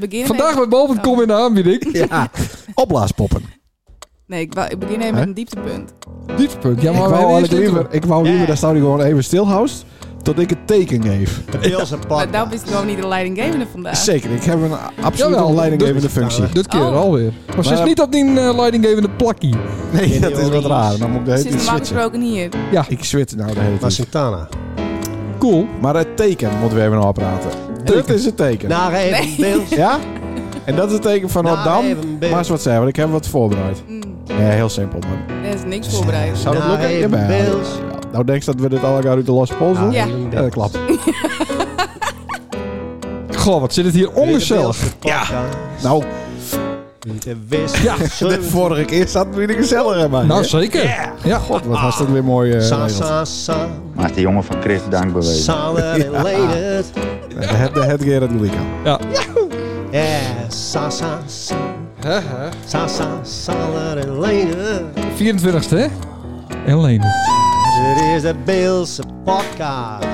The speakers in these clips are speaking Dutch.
begin Vandaag bij bol.com in de aanbieding. Ja, opblaaspoppen. Nee, ik, wou- ik begin even Hè? met een dieptepunt. Dieptepunt. Ja, ik maar wou we hebben eigenlijk eerst intro. liever, ik wou liever Ja. dat Saudi gewoon even stilhoudt. Tot ik het teken geef. De Beelse Maar pad. daarom is het gewoon niet de leidinggevende vandaag. Zeker, ik heb een absoluut Jawel, een leidinggevende dat- functie. Dit keer Oh. alweer. Maar, ze is Maar- niet op die eh, leidinggevende plakkie. Nee, dat is wat Orange. raar. Dan moet ik de hele Ze is tijd normaal switchen. gesproken hier. Ik switch nou de hele Maar tijd. Santana. Cool. Maar het teken moeten we even nog praten. Dit is het teken. Naar even beeld. Ja? En dat is het teken van Nou, Adam. even beeld. Maar eens wat zeggen, want ik heb wat voorbereid. Mm, Ja, heel simpel. Maar... er is niks voorbereid. Zou dat Naar lukken? Nou, even Jawel. beeld. Nou. Ja, nou denk je dat we dit allemaal uit de losse pols doen? Naar Ja. Ja. even dat beeld. klopt. Goh, wat zit het hier ongezellig. Ja. Nou, De wist. Ja. de vorige keer zat we weer gezellig maar. Nou, zeker. Ja, god. wat was dat weer mooi. eh, Sa, geregeld. sa, sa. Maar de jongen van Chris dank bewezen. Samen related. De head, de head Gerard Lulica. Yeah. Sa, sa, sa. Hè, hè. Sa, sa, sa. Related. 24 e hè? En Lene. Dit is de Beelse podcast.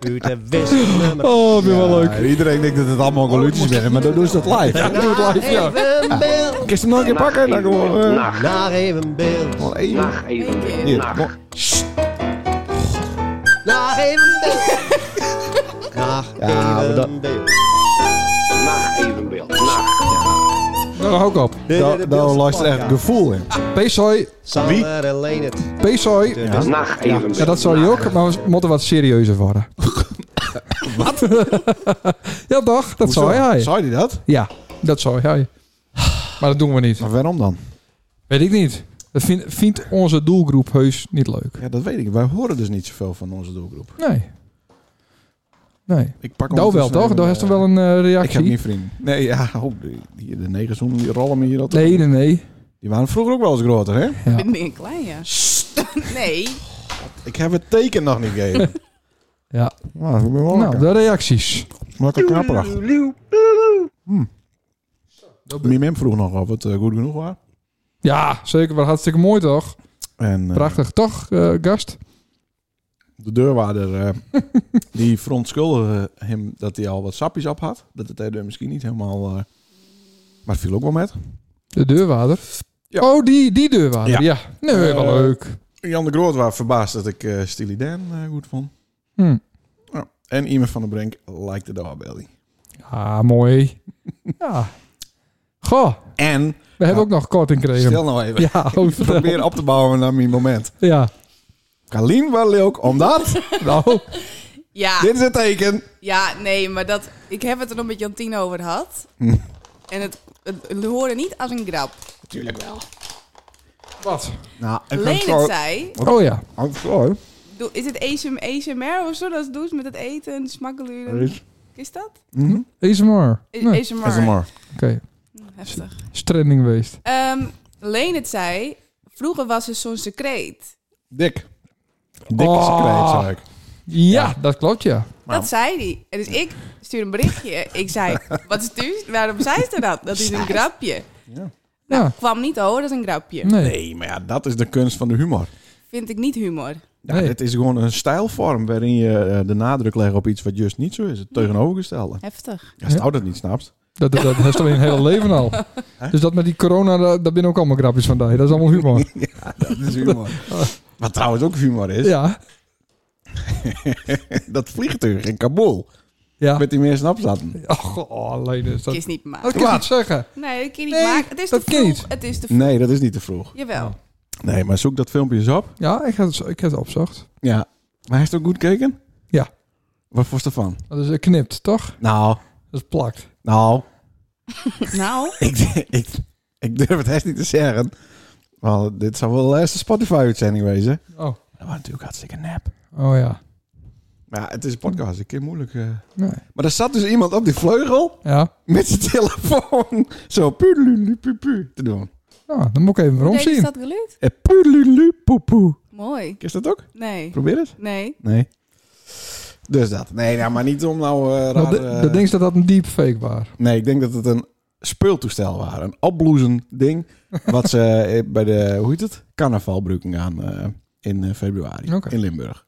Uit de wist nummer. Oh, vind ik wel leuk. Ja, iedereen denkt dat het allemaal geluidjes zijn, maar dan doen ze dat live. doe het live, Oh, ja. even beeld. Kun je ze nog een keer pakken? Dan gewoon... eh, Nou. Naar even beeld. gewoon één. Nacht even. Eén Hier, keer. Nacht. kom. Naar even beeld. Naar Ja, maar dat- even beeld. Nacht evenbeeld. Nacht. Nou, hou ik op. Daar- Daar luistert echt gevoel in. Peesoi, Wie? Sander en Leendert. Peesoi. Ja. Nacht evenbeeld. Ja, dat zou die ook, maar we moeten wat serieuzer worden. wat? ja, toch? Dat zou hij. Zou je dat? Ja, dat zou hij. Maar dat doen we niet. Maar waarom dan? Weet ik niet. Dat vind- vindt onze doelgroep heus niet leuk. Ja, dat weet ik. Wij horen dus niet zoveel van onze doelgroep. Nee. Nee. Ik pak Nou wel, ondertussen toch? even, Daar eh, heeft er wel een eh, Ik heb reactie. niet vrienden. Nee, ja. Oh, de- hier, de negers doen die rollen me hier altijd. Nee, nee, nee. Die waren vroeger ook wel eens groter, hè? Ja. Ik ben meer klein, ja. Nee. Ik heb het teken nog niet gegeven. Ja. Maar ik ben wel Nou, lekker. de reacties. Lekker knapperig. Hm. Mim Mim vroeg nog of het eh, goed genoeg was. Ja, zeker. Maar hartstikke mooi, toch? En eh, Prachtig, toch, eh, gast? de deurwaarder eh, die verontschuldigde hem dat hij al wat sapjes op had. Dat het hij er misschien niet helemaal... eh, maar het viel ook wel met. De deurwaarder. Ja. Oh, die, die deurwaarder. Ja. Nee, Eh, wel leuk. Jan de Groot was verbaasd dat ik eh Steely Dan eh, goed vond. Hm. Ja. En iemand van de Brink liked de doorbelly. Ja, mooi. ja. Goh, En, we hebben ook nog korting gekregen. stil nou even, Ja, oh, vertel. probeer op te bouwen naar mijn moment. Ja. Kalien wel leuk, omdat, Nou, Ja, dit is het teken. ja, nee, maar dat... Ik heb het er nog met Jantine over gehad. Hm. En het, het, het hoorde niet als een grap. Natuurlijk wel. wat? Nou, ik vind het Lenen gewoon... zei... Oh ja. Oh, sorry. Doe- Is het ASM ASMR of zo? Dat doet met het eten en smakkeluren. Is dat? ASMR. Nee. ASMR. SMR. Oké. Heftig. Is trending geweest. Ehm Leen het zei... Vroeger was er zo'n secreet. Dik. Dik is Oh. kwijt, zei ik. Ja, dat klopt, ja. Dat zei hij. En dus ik stuur een berichtje. Ik zei, wat is het? Waarom zei ze dat? Dat is een grapje. Ja. Kwam niet hoor, dat is een grapje. Nee. Nee, maar ja, dat is de kunst van de humor. Vind ik niet humor. Ja, Nee. Dit is gewoon een stijlvorm waarin je eh, de nadruk legt op iets wat juist niet zo is. Het tegenovergestelde. Heftig. Als Stout dat niet snapt. Dat, dat, dat heeft al in het hele leven al. Dus dat met die corona, daar, daar binnen ook allemaal grapjes van. Dat is allemaal humor. Dat is humor. Wat trouwens ook humor is. Ja. Dat vliegtuig in Kabul. Ja. Met die mensen opzaten. Oh, goh, alleen is dat... Het is niet Dat maken. kan je niet zeggen. Nee, dat kun je niet Nee, maken. Het is dat te kan vroeg. niet. Het is te vroeg. Nee, dat is niet te vroeg. Jawel. Nee, maar zoek dat filmpje eens op. Ja, ik heb het, ik heb het opzocht. Ja. Maar hij is het ook goed gekeken? Ja. Wat vond je ervan? Dat is eh, knipt, toch? Nou, Dat is plakt. nou, Nou, ik, ik, ik durf het echt niet te zeggen. Want dit zou wel de laatste Spotify-uitzending wezen. Oh. Dat was natuurlijk hartstikke nep. Oh ja. Maar ja, het is een podcast, een keer moeilijk. eh. Nee. Maar er zat dus iemand op die vleugel Ja. met zijn telefoon zo pudelulupupu te doen. Nou, dan moet ik even waarom nee, is zien. dat gelukt? En pudelulupupu. Mooi. Is Eh, dat ook? Nee. Probeer het. Nee. Nee. Dus dat. Nee, nou, maar niet om nou eh raar, Nou, de- eh, dat ding is dat dat een deepfake was. Nee, ik denk dat het een speeltoestel was. Een opbloezend ding. wat ze eh, bij de, hoe heet het? Carnaval gebruiken aan eh, in eh, februari. Oké. In Limburg.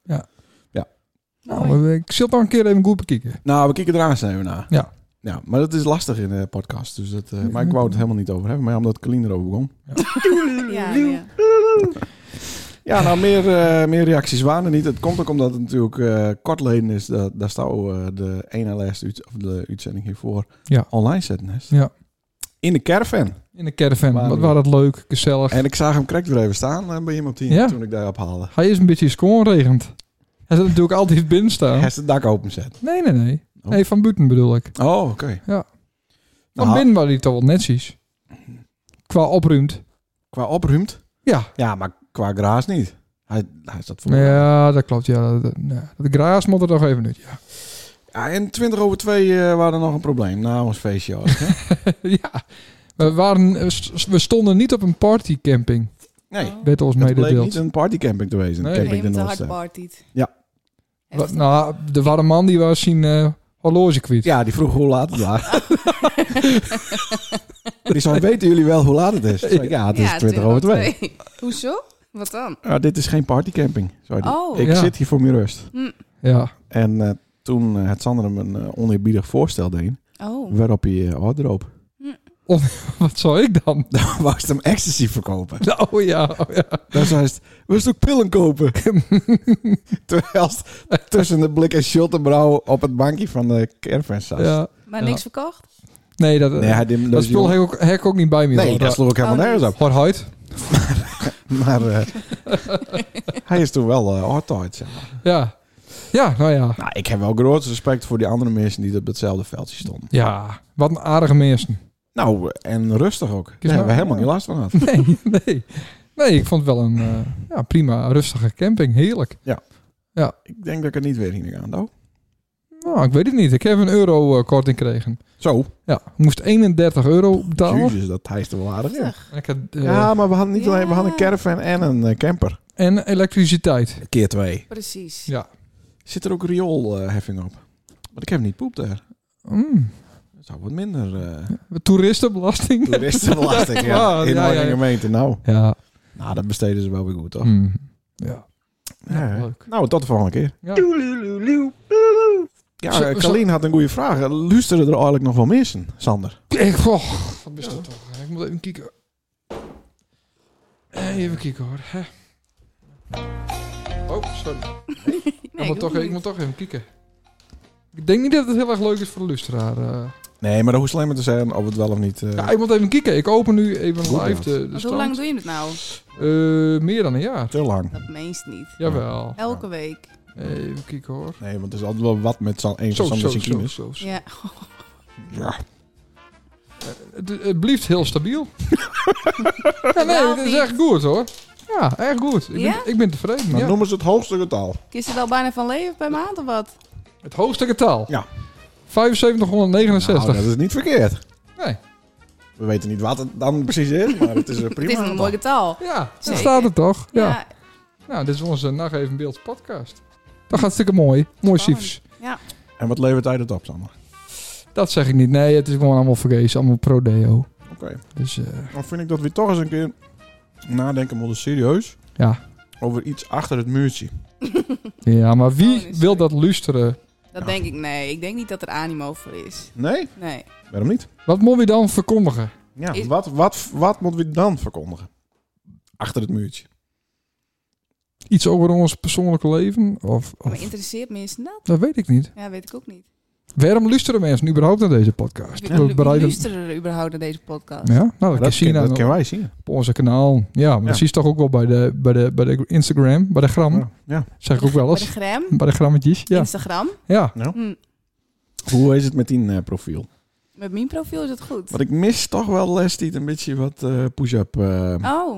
Nou, ik zal het nog een keer even goed bekijken. Nou, we kijken er aan even naar. Ja. Ja, maar dat is lastig in de podcast. Dus dat, eh, maar ik wou het helemaal niet over hebben. Maar ja, omdat Colleen erover begon. Ja, ja. Ja, nou, meer, eh, meer reacties waren er niet. Het komt ook omdat het natuurlijk eh kortleden is. Da- daar zou eh, de ene les, uit- of de uitzending hiervoor, Ja. online zetten. is. Ja. In de caravan. In de caravan. Waar Wat we- was dat leuk, gezellig. En ik zag hem correct weer even staan eh, bij iemand die Ja. Oh. toen ik daar ophaalde. Hij is een beetje schoonregend. Hij zit natuurlijk altijd binnen staan. Hij is het dak openzet. Nee, nee, nee. Oh. Nee, van buiten bedoel ik. Oh, oké. Van Nou. binnen waren die toch wel netjes. Qua opruimd. Qua opruimd? Ja. Ja, maar qua graas niet. Hij, hij is dat voor mij. Ja, dat klopt. Ja, dat, dat- ja. dat graas moet er nog even uit. Ja, Ja, en 20 over 2 eh waren er nog een probleem na ons feestje. ook, hè? ja. We, waren, eh, we stonden niet op een partycamping, Nee, werd ons het bleek niet meegedeeld. een partycamping te wezen. Nee. Camping Oh. Nee, de met de Noordster. hardpartiet. Ja. Wa- Nou, de warme man die was zijn eh horloge kwijt. Ja, die vroeg hoe laat het was. die zei, weten jullie wel hoe laat het is? Toen zei ik, ja, het is 20 over 2. Hoezo? Wat dan? Ja, dit is geen partycamping. zei die. Oh. ik Ja. zit hier voor mijn rust. Ja. En eh, toen eh, had Sander hem een eh, oneerbiedig voorstel deed, Oh. waarop hij eh hardroop. Wat zou ik dan? Dan wou ze hem ecstasy verkopen. Oh ja, oh ja. Dan zei ze, we ook pillen kopen. Terwijl het tussen de blik en shot en brouw op het bankje van de caravan zat. ja. Maar Ja. niks verkocht? Nee, dat, Nee, hij deed- dat spul jong- heb ik, ook, heb ik ook niet bij me. Nee, dat sloeg ook helemaal Oh, nergens op. Hard huid. Maar eh, hij is toen wel eh hard uit, zeg maar. Ja. Ja, nou ja. Nou, ik heb wel groot respect voor die andere mensen die op hetzelfde veldje stonden. Ja, wat een aardige mensen. Nou, en rustig ook. Daar hebben we helemaal geen last van gehad. Nee, nee. Nee, ik vond het wel een eh, ja, prima, rustige camping. Heerlijk. Ik denk dat ik het niet weer hier aan doe. Nou, ik weet het niet. Ik heb een euro eh, korting gekregen. Zo, Ja, ik moest 31 euro betalen. jezus, dat hij is toch wel aardig. Ja. En ik had, eh, ja, maar we hadden niet alleen, we hadden een Ja. caravan en een eh, camper. En elektriciteit. Keer twee. Precies. Ja. Zit er ook rioolheffing op? Want ik heb niet poep daar. Mm. Dat zou wat minder eh Toeristenbelasting. toeristenbelasting Ja, ja, in Oh, ja, mijn ja. gemeente. Nou, Ja. nou, dat besteden ze wel weer goed, toch? Mm. Ja. Ja, hè. leuk. Nou, tot de volgende keer. Ja. Zo- Ja, eh, zo- Kalien had een goede vraag. Eh, Luisteren er eigenlijk nog wel mensen, Sander? Ik, oh, wat is dat toch? Ik moet even kijken. Even kijken hoor. Hè. Oh, sorry. ik, moet Nou, toch, ik moet toch even kijken. Ik denk niet dat het heel erg leuk is voor de luisteraar. eh. Nee, maar dat hoeft alleen maar te zijn of het wel of niet... eh, Ja, ik moet even kijken. Ik open nu even Goed, live ja. de, de Want hoe lang stand. doe je het nou? Eh, meer dan een jaar. Te lang. Dat meest niet. Jawel. Elke week. Even kijken hoor. Nee, want er is altijd wel wat met San, een Zo, van zo, Sander's zo, kines. zo, zo. Ja. Ja. Eh, Het, het blijft heel stabiel. ja, nee, het is echt goed hoor. Ja, echt goed. Ik, Ja? ben, ik ben tevreden. Dan ja. noemen ze het hoogste getal. Kies het al bijna van leven per maand of wat? Het hoogste getal? Ja. 7569. Nou, dat is niet verkeerd. Nee. We weten niet wat het dan precies is, maar het is eh, prima. Het is een mooi getal. Ja, dat Zeker. staat er toch? Ja. Ja. Nou, dit is onze Nacht Even Beeld podcast. Dat gaat hartstikke mooi. Mooi Spannend. cijfers. En wat levert hij dat op, Sander? Dat zeg ik niet. Nee, het is gewoon allemaal vergezen. Allemaal pro-deo. Oké. Dus eh, Dan vind ik dat we toch eens een keer nadenken moeten serieus ja. over iets achter het muurtje. Ja, maar Oh, wie nee, wil dat luisteren? Dat denk ik, nee. Ik denk niet dat er animo voor is. Nee? Nee. Waarom niet? Wat moet je dan verkondigen? Ja, Is- wat, wat, wat moeten we dan verkondigen? Achter het muurtje. Oh, Iets over ons persoonlijke leven? Of, of- Maar interesseert mensen dat? dat weet ik niet. Ja, weet ik ook niet. Waarom luisteren mensen überhaupt naar deze podcast? Wie, We wie bereiden- luisteren er überhaupt naar deze podcast? Ja, nou, dat, Dat, zien ken- aan- dat kennen wij zien. op onze kanaal. Ja, maar Ja. dat zie je toch ook wel bij de, bij de, bij de Instagram, bij de gram. Ja. Ja. Zeg ik ook wel Bij de eens. gram? Bij de grammetjes, ja. Instagram? Ja, Hm. Hoe is het met die eh, profiel? Met mijn profiel is het goed. Want ik mis toch wel les die het een beetje wat eh, push-up eh, Oh,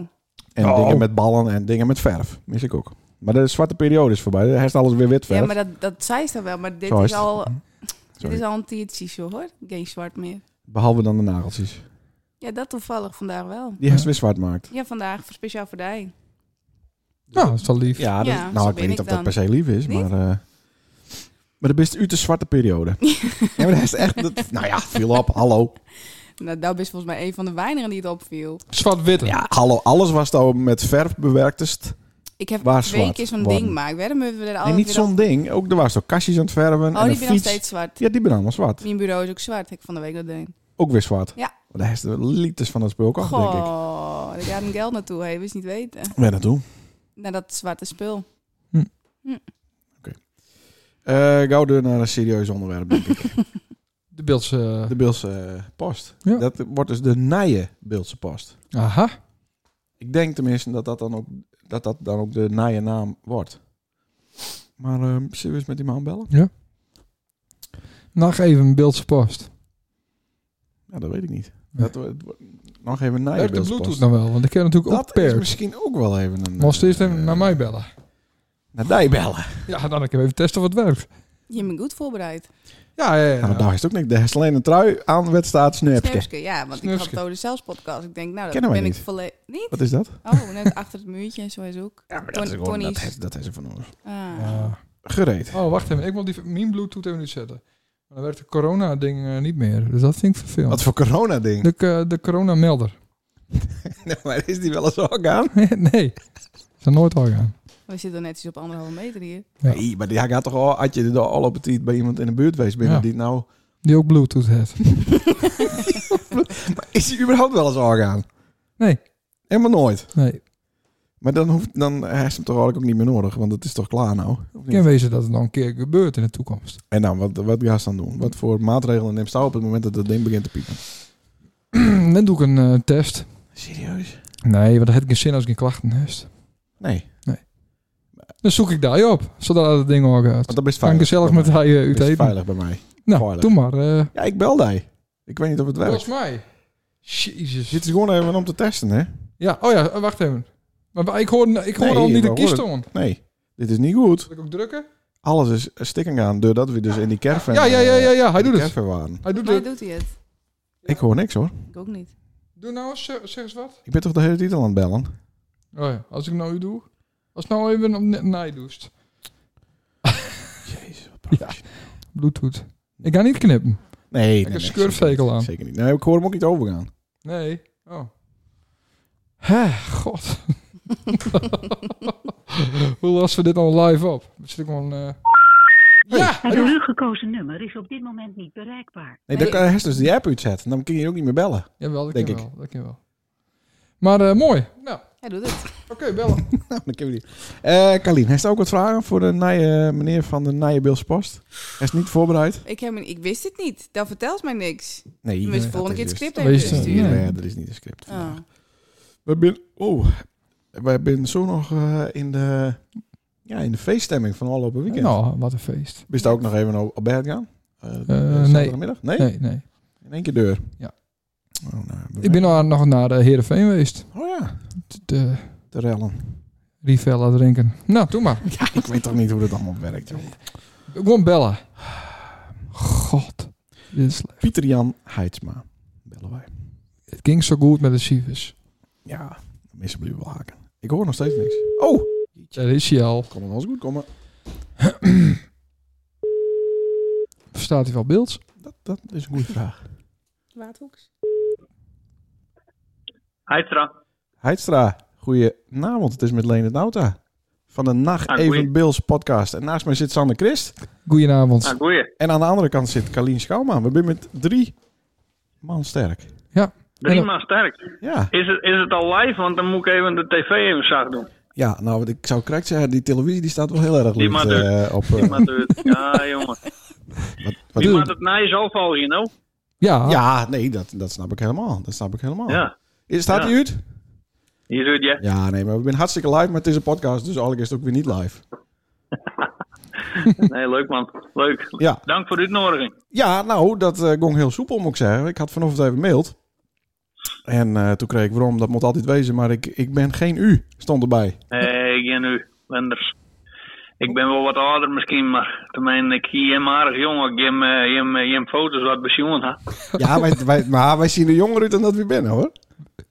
en Oh. dingen met ballen en dingen met verf. Mis ik ook. Maar de zwarte periode is voorbij. Hij is alles weer wit verf. ja, maar dat, dat zei ze dan wel. Maar dit Zo is is het. al, dit Sorry. is al een tiertje show, hoor. Geen zwart meer. Behalve dan de nageltjes. Ja, dat toevallig vandaag wel. Die hij weer zwart maakt. Ja, vandaag voor speciaal voor die. nou, dat is wel lief. Ja, dat, Ja, zo nou ben ik weet niet ik of dat dan. per se lief is, Niet? maar... eh maar dat is uit de zwarte periode. ja, maar dat is echt... dat- nou ja, viel op. Hallo. Nou, dat is volgens mij een van de weinigen die het opviel. Zwart-witte. Ja, hallo. Alles was daar met verf bewerkt. dus- Ik heb Waar twee zwart keer zo'n worden. ding, maar Oh, ik werd hem weer En altijd niet weer zo'n ding. Ook er was toch kastjes aan het verven. al- en Oh, een die ben nog fiets. steeds zwart. Ja, die ben allemaal zwart. Mijn bureau is ook zwart, heb ik van de week dat deed. Ook weer zwart. Ja. Maar Daar is de liters van dat spul ook af, denk ik. Goh, ik had een geld naartoe, hij wist niet weten. Waar naartoe? Naar dat zwarte spul. Eh gauw door naar een serieus onderwerp, denk ik. De beelds... eh, De Beeldse eh, Post. Ja. Dat wordt dus de nije Beeldse Post. aha. Ik denk tenminste dat dat dan ook, dat dat dan ook de nije naam wordt. Maar eh, zullen we eens met die man bellen? Nog even een beeldse post. Ja, dat weet ik niet. Dat, het wordt- nog even nije Heb de Beeldse Bluetooth Post. nog wel? Want ik heb natuurlijk ook Dat is pairs. misschien ook wel even een... Moest eerst even eh, naar mij bellen. Naar die bellen. Ja, dan kan ik even testen of het werkt. Je bent goed voorbereid. Ja, ja, ja. Nou, daar is het ook niks. Er is alleen een trui aan wedstaat snurpje. Snurpske, ja, want ik had Snurpske. het over de zelfs podcast. Ik denk, nou, Kennen dat wij ben ik niet. volledig... Niet? Wat is dat? Oh, net achter het muurtje, zo is ook. Ja, maar Ton- dat is gewoon... Dat Tonnies. is, dat is er van ons. Ah. Ja. Gereed. Oh, wacht even. Ik wil die, mijn Bluetooth even niet zetten. Maar dan werkt het corona-ding eh, niet meer. Dus dat vind ik vervelend. Wat voor corona ding. De, eh, de corona-melder. Nee, maar is die wel eens ook aan? nee. Is er nooit al gaan. We zitten netjes op anderhalve meter hier. Ja. Nee, maar die gaat toch al, had je er al op het tijd bij iemand in de buurt geweest binnen Ja. die het nou... Die ook Bluetooth heeft. Maar is die überhaupt wel eens al gaan? Nee. Helemaal nooit. Nee. Maar dan, hoeft, dan heeft ze hem toch eigenlijk ook niet meer nodig, want het is toch klaar nou? Of niet? Kan wezen dat het nog een keer gebeurt in de toekomst. En dan, wat, wat ga je dan doen? Wat voor maatregelen neemt ze op het moment dat dat ding begint te piepen? Dan doe ik een eh, test. Serieus? Nee, want dat heb ik geen zin als ik geen klachten heb. Nee, Dan zoek ik daar je op, zodat het ding al gaat. want dat is Kan ik veilig. gezellig bij met mij. hij eh, uit Dat is eten. veilig bij mij. Nou, veilig. doe maar. eh Ja, ik bel die. Ik weet niet of het werkt. volgens mij. Jezus. Dit is gewoon even om te testen, hè? Ja, oh ja, eh, wacht even. Maar wa- ik hoor, ik hoor Nee, al niet we de kiestoon. horen- Nee, dit is niet goed. Zal ik ook drukken? Alles is stikken gaan doordat we dus in die caravan... eh, Ja, ja, ja, ja, ja, hij in die doet het. caravan waren. Hij doet Maar het. doet hij het? Ik hoor niks, hoor. Ik ook niet. Doe nou eens, zeg, zeg eens wat. Ik ben toch de hele tijd al aan het bellen? Oh ja, als ik nou u doe. Als ik nou even op ne- naai doest. Jezus, wat Ja. Bluetooth. Ik ga niet knippen. Nee, nee, een nee, schurfzekel zeker niet. aan. Zeker niet. Nee, ik hoor hem ook niet overgaan. Nee. Oh. Hè, god. Hoe lossen we dit nou live op? Zit ik gewoon... eh, Ja! Het door u gekozen nummer is op dit moment niet bereikbaar. Nee, dan Nee. kan hij dus die app uitzetten. Dan kun je ook niet meer bellen. Jawel, dat Denk kan ik. wel. Dat kan wel. Maar eh, mooi. Nou, Hij doet het. oké, bellen. Nou, dan kunnen we niet. Eh Kalien, heeft ook wat vragen voor de nije, meneer van de Nije Beelse Post? Hij is niet voorbereid? Ik, heb, me- ik wist het niet. Dat vertelt mij niks. Nee. Je moet de volgende keer het script even Wees het- sturen. Nee. Nee, dat is niet een script. Ah. We zijn... Oh, we zijn zo nog eh, in de... Ja, in de feeststemming van afgelopen weekend. Nou, wat een feest. Wist je ook nog even op op bed gaan? Eh, nee. zaterdagmiddag? Nee? Nee, nee. In één keer deur? Ja. Oh, nou, we- Ik ben al- nog naar de Heerenveen geweest. Oh ja, De- De te rellen. Rivella drinken. Nou, doe maar. Ah. Ja, ik weet toch niet hoe dat allemaal werkt, joh. Gewoon bellen. God. Dit is slecht. Pieter Jan Heidsma bellen wij. Het ging zo goed met de Sivus. Ja, de mensen blijven wel haken. Ik hoor nog steeds niks. Oh, Daar is hij al. kan het wel eens goed komen. Verstaat hij wel beeld? Dat, dat is een goede vraag. Waardhoeks. Heitra. Heidstra, goedenavond. Het is met Lene Nauta van de Nacht Ah, Even goeie. Bills podcast. En naast mij zit Sander Christ. Goedenavond. Ah, goeie. En aan de andere kant zit Kalien Schouwman. We zijn met drie man sterk. Drie Hallo. maal sterk. Ja, Is het, is het al live? Want dan moet ik even de tv even zacht doen. ja nou, wat ik zou correct zeggen, die televisie die staat wel heel erg Die licht maakt het. eh, op... eh, Maar het- ja, jongen. wat, wat- Die maakt het na jezelf al, you know? Ja. ja, nee, dat, dat snap ik helemaal. Dat snap ik helemaal. Ja. Is- Staat Ja. die uit? Hier zit je. Ja, nee, maar we zijn hartstikke live, maar het is een podcast, dus eigenlijk is het ook weer niet live. Nee, leuk man. Leuk. Ja, Dank voor de uitnodiging. ja nou, dat eh ging heel soepel, moet ik zeggen. Ik had vanochtend even maild. En eh, toen kreeg ik waarom, dat moet altijd wezen, maar ik, ik ben geen u, stond erbij. Nee, ik ben nu. Lenders. Ik ben wel wat ouder misschien, maar tenminste, ik zie hem aardig jong. Ik heb hem, eh, hem, eh, hem foto's wat bezien. hè. Ja, wij, wij, maar wij zien er jonger uit dan dat we binnen, hoor.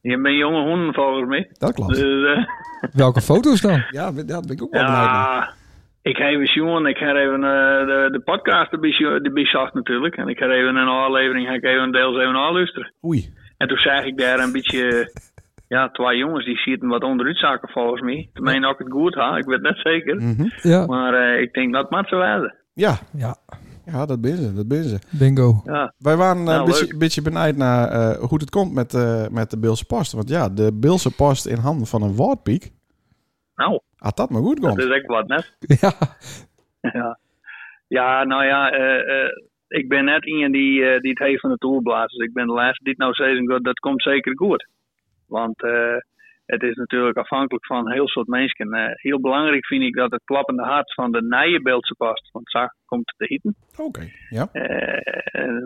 Je bent jonge honden volgens mij. Dat klopt. Dus, eh, Welke foto's dan? Ja, dat ben ik ook wel benieuwd naar. Ja, ik heb even Sjoen, ik heb even eh, de, de podcast erbij sjo- erbij zacht natuurlijk. En ik heb even een aflevering, ga ik even deels even aanluisteren. Oei. En toen zag ik daar een beetje, ja, twee jongens die zitten wat onderuit zaken volgens mij. Ik meen ook het goed ha, ik weet net zeker. Ja, Maar eh, ik denk dat maakt ze wel. Ja, ja. ja dat ben ze, dat ben ze. bingo. Ja, Wij waren eh, een Nou, beetje, leuk. beetje benijd naar eh, hoe het komt met, eh, met de Beelse Post. Want ja, de Beelse Post in handen van een woordpiek, nou, als dat maar goed dat komt. is echt wat net. Ja, ja. ja, nou ja, eh, eh, ik ben net iemand die, eh, die het heeft van de toolblaas. Dus ik ben de laatste die het nou zeggen gaat, dat komt zeker goed. Want eh, het is natuurlijk afhankelijk van heel soort mensen. Eh, heel belangrijk vind ik dat het klappende hart van de Nijenbeeldse past. Want zo komt het te hitten. Oké, ja, Eh, eh,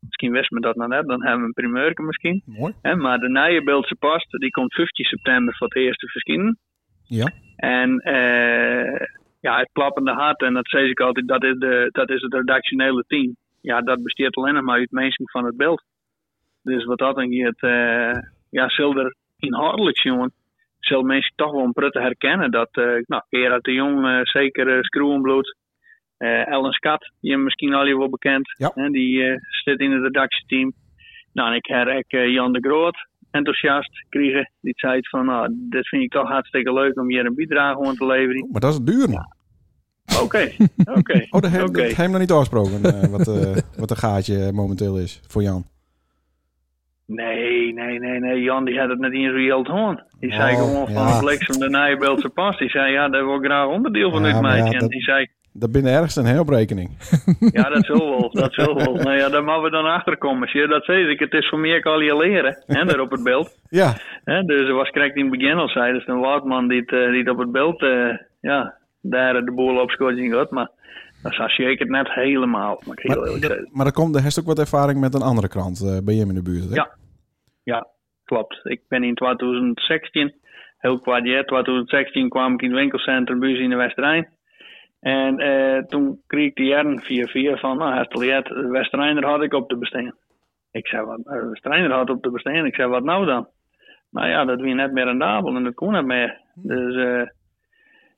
misschien wist men dat nog net, dan hebben we een primeurke misschien. mooi. Hè, maar de Nijenbeeldse past, die komt 15 september voor het eerste verschijnen. Ja, En eh, ja, het klappende hart, en dat zei ik altijd, dat is, de, dat is het redactionele team. Ja, dat besteedt alleen nog maar uit mensen van het beeld. Dus wat dat dan gaat, eh, ja, zal er inhoudelijk, jongen, zal mensen toch wel een prut herkennen dat, eh nou, Gerard de Jong, eh, zeker uh, Screwenbloed, eh, Ellen Skat, die hem misschien al je wel bekend, Ja. hè, die eh, zit in het redactieteam. Nou, en ik her ik eh, Jan de Groot enthousiast kregen, die zei van, nou, dit vind ik toch hartstikke leuk om hier een bijdrage aan te leveren. maar dat is duur. Oké, oké. Oh, dat heeft Oké. dat heeft hem nog niet afgesproken, eh, wat, eh, wat een gaatje momenteel is voor Jan. Nee, nee, nee, nee. Jan die had het net in reëel hoorn. Die zei Oh, gewoon van ja. ja. bliksem de Nijbeeldse pas. Die zei, ja, daar wil ik graag onderdeel van Ja, uit, maar ja, meisje. En dat- die zei, Dat binnen ergens een heropbrekening. ja, dat zal wel, dat zal wel. Nou ja, daar mogen we dan achterkomen. Zie je, dat zei ik. Het is voor meer kan je leren, hè, daar op het beeld. Ja, Hè, dus er was correct in het begin al zei, dus een Woutman die, het, eh, die het op het beeld, eh, ja, daar de boel op schoot in gehad. Maar nou, dat zag je het net helemaal. Maar ik heel maar, eerlijk zeggen. dat- maar er komt er heeft ook wat ervaring met een andere krant eh, bij hem in de buurt. Hè? Ja. Ja, klopt. Ik ben in 2016, heel kwaad jaar, 2016 kwam ik in het winkelcentrum Buus in de Westerijn. En eh, toen kreeg ik de jaren 4-4 van, nou, Hesteliet, Westerijner had ik op te besteden. Ik zei, wat, eh, Westerijner had op te besteden. Ik zei, wat nou dan? Nou ja, dat was net meer rendabel en dat kon niet meer. Dus, eh,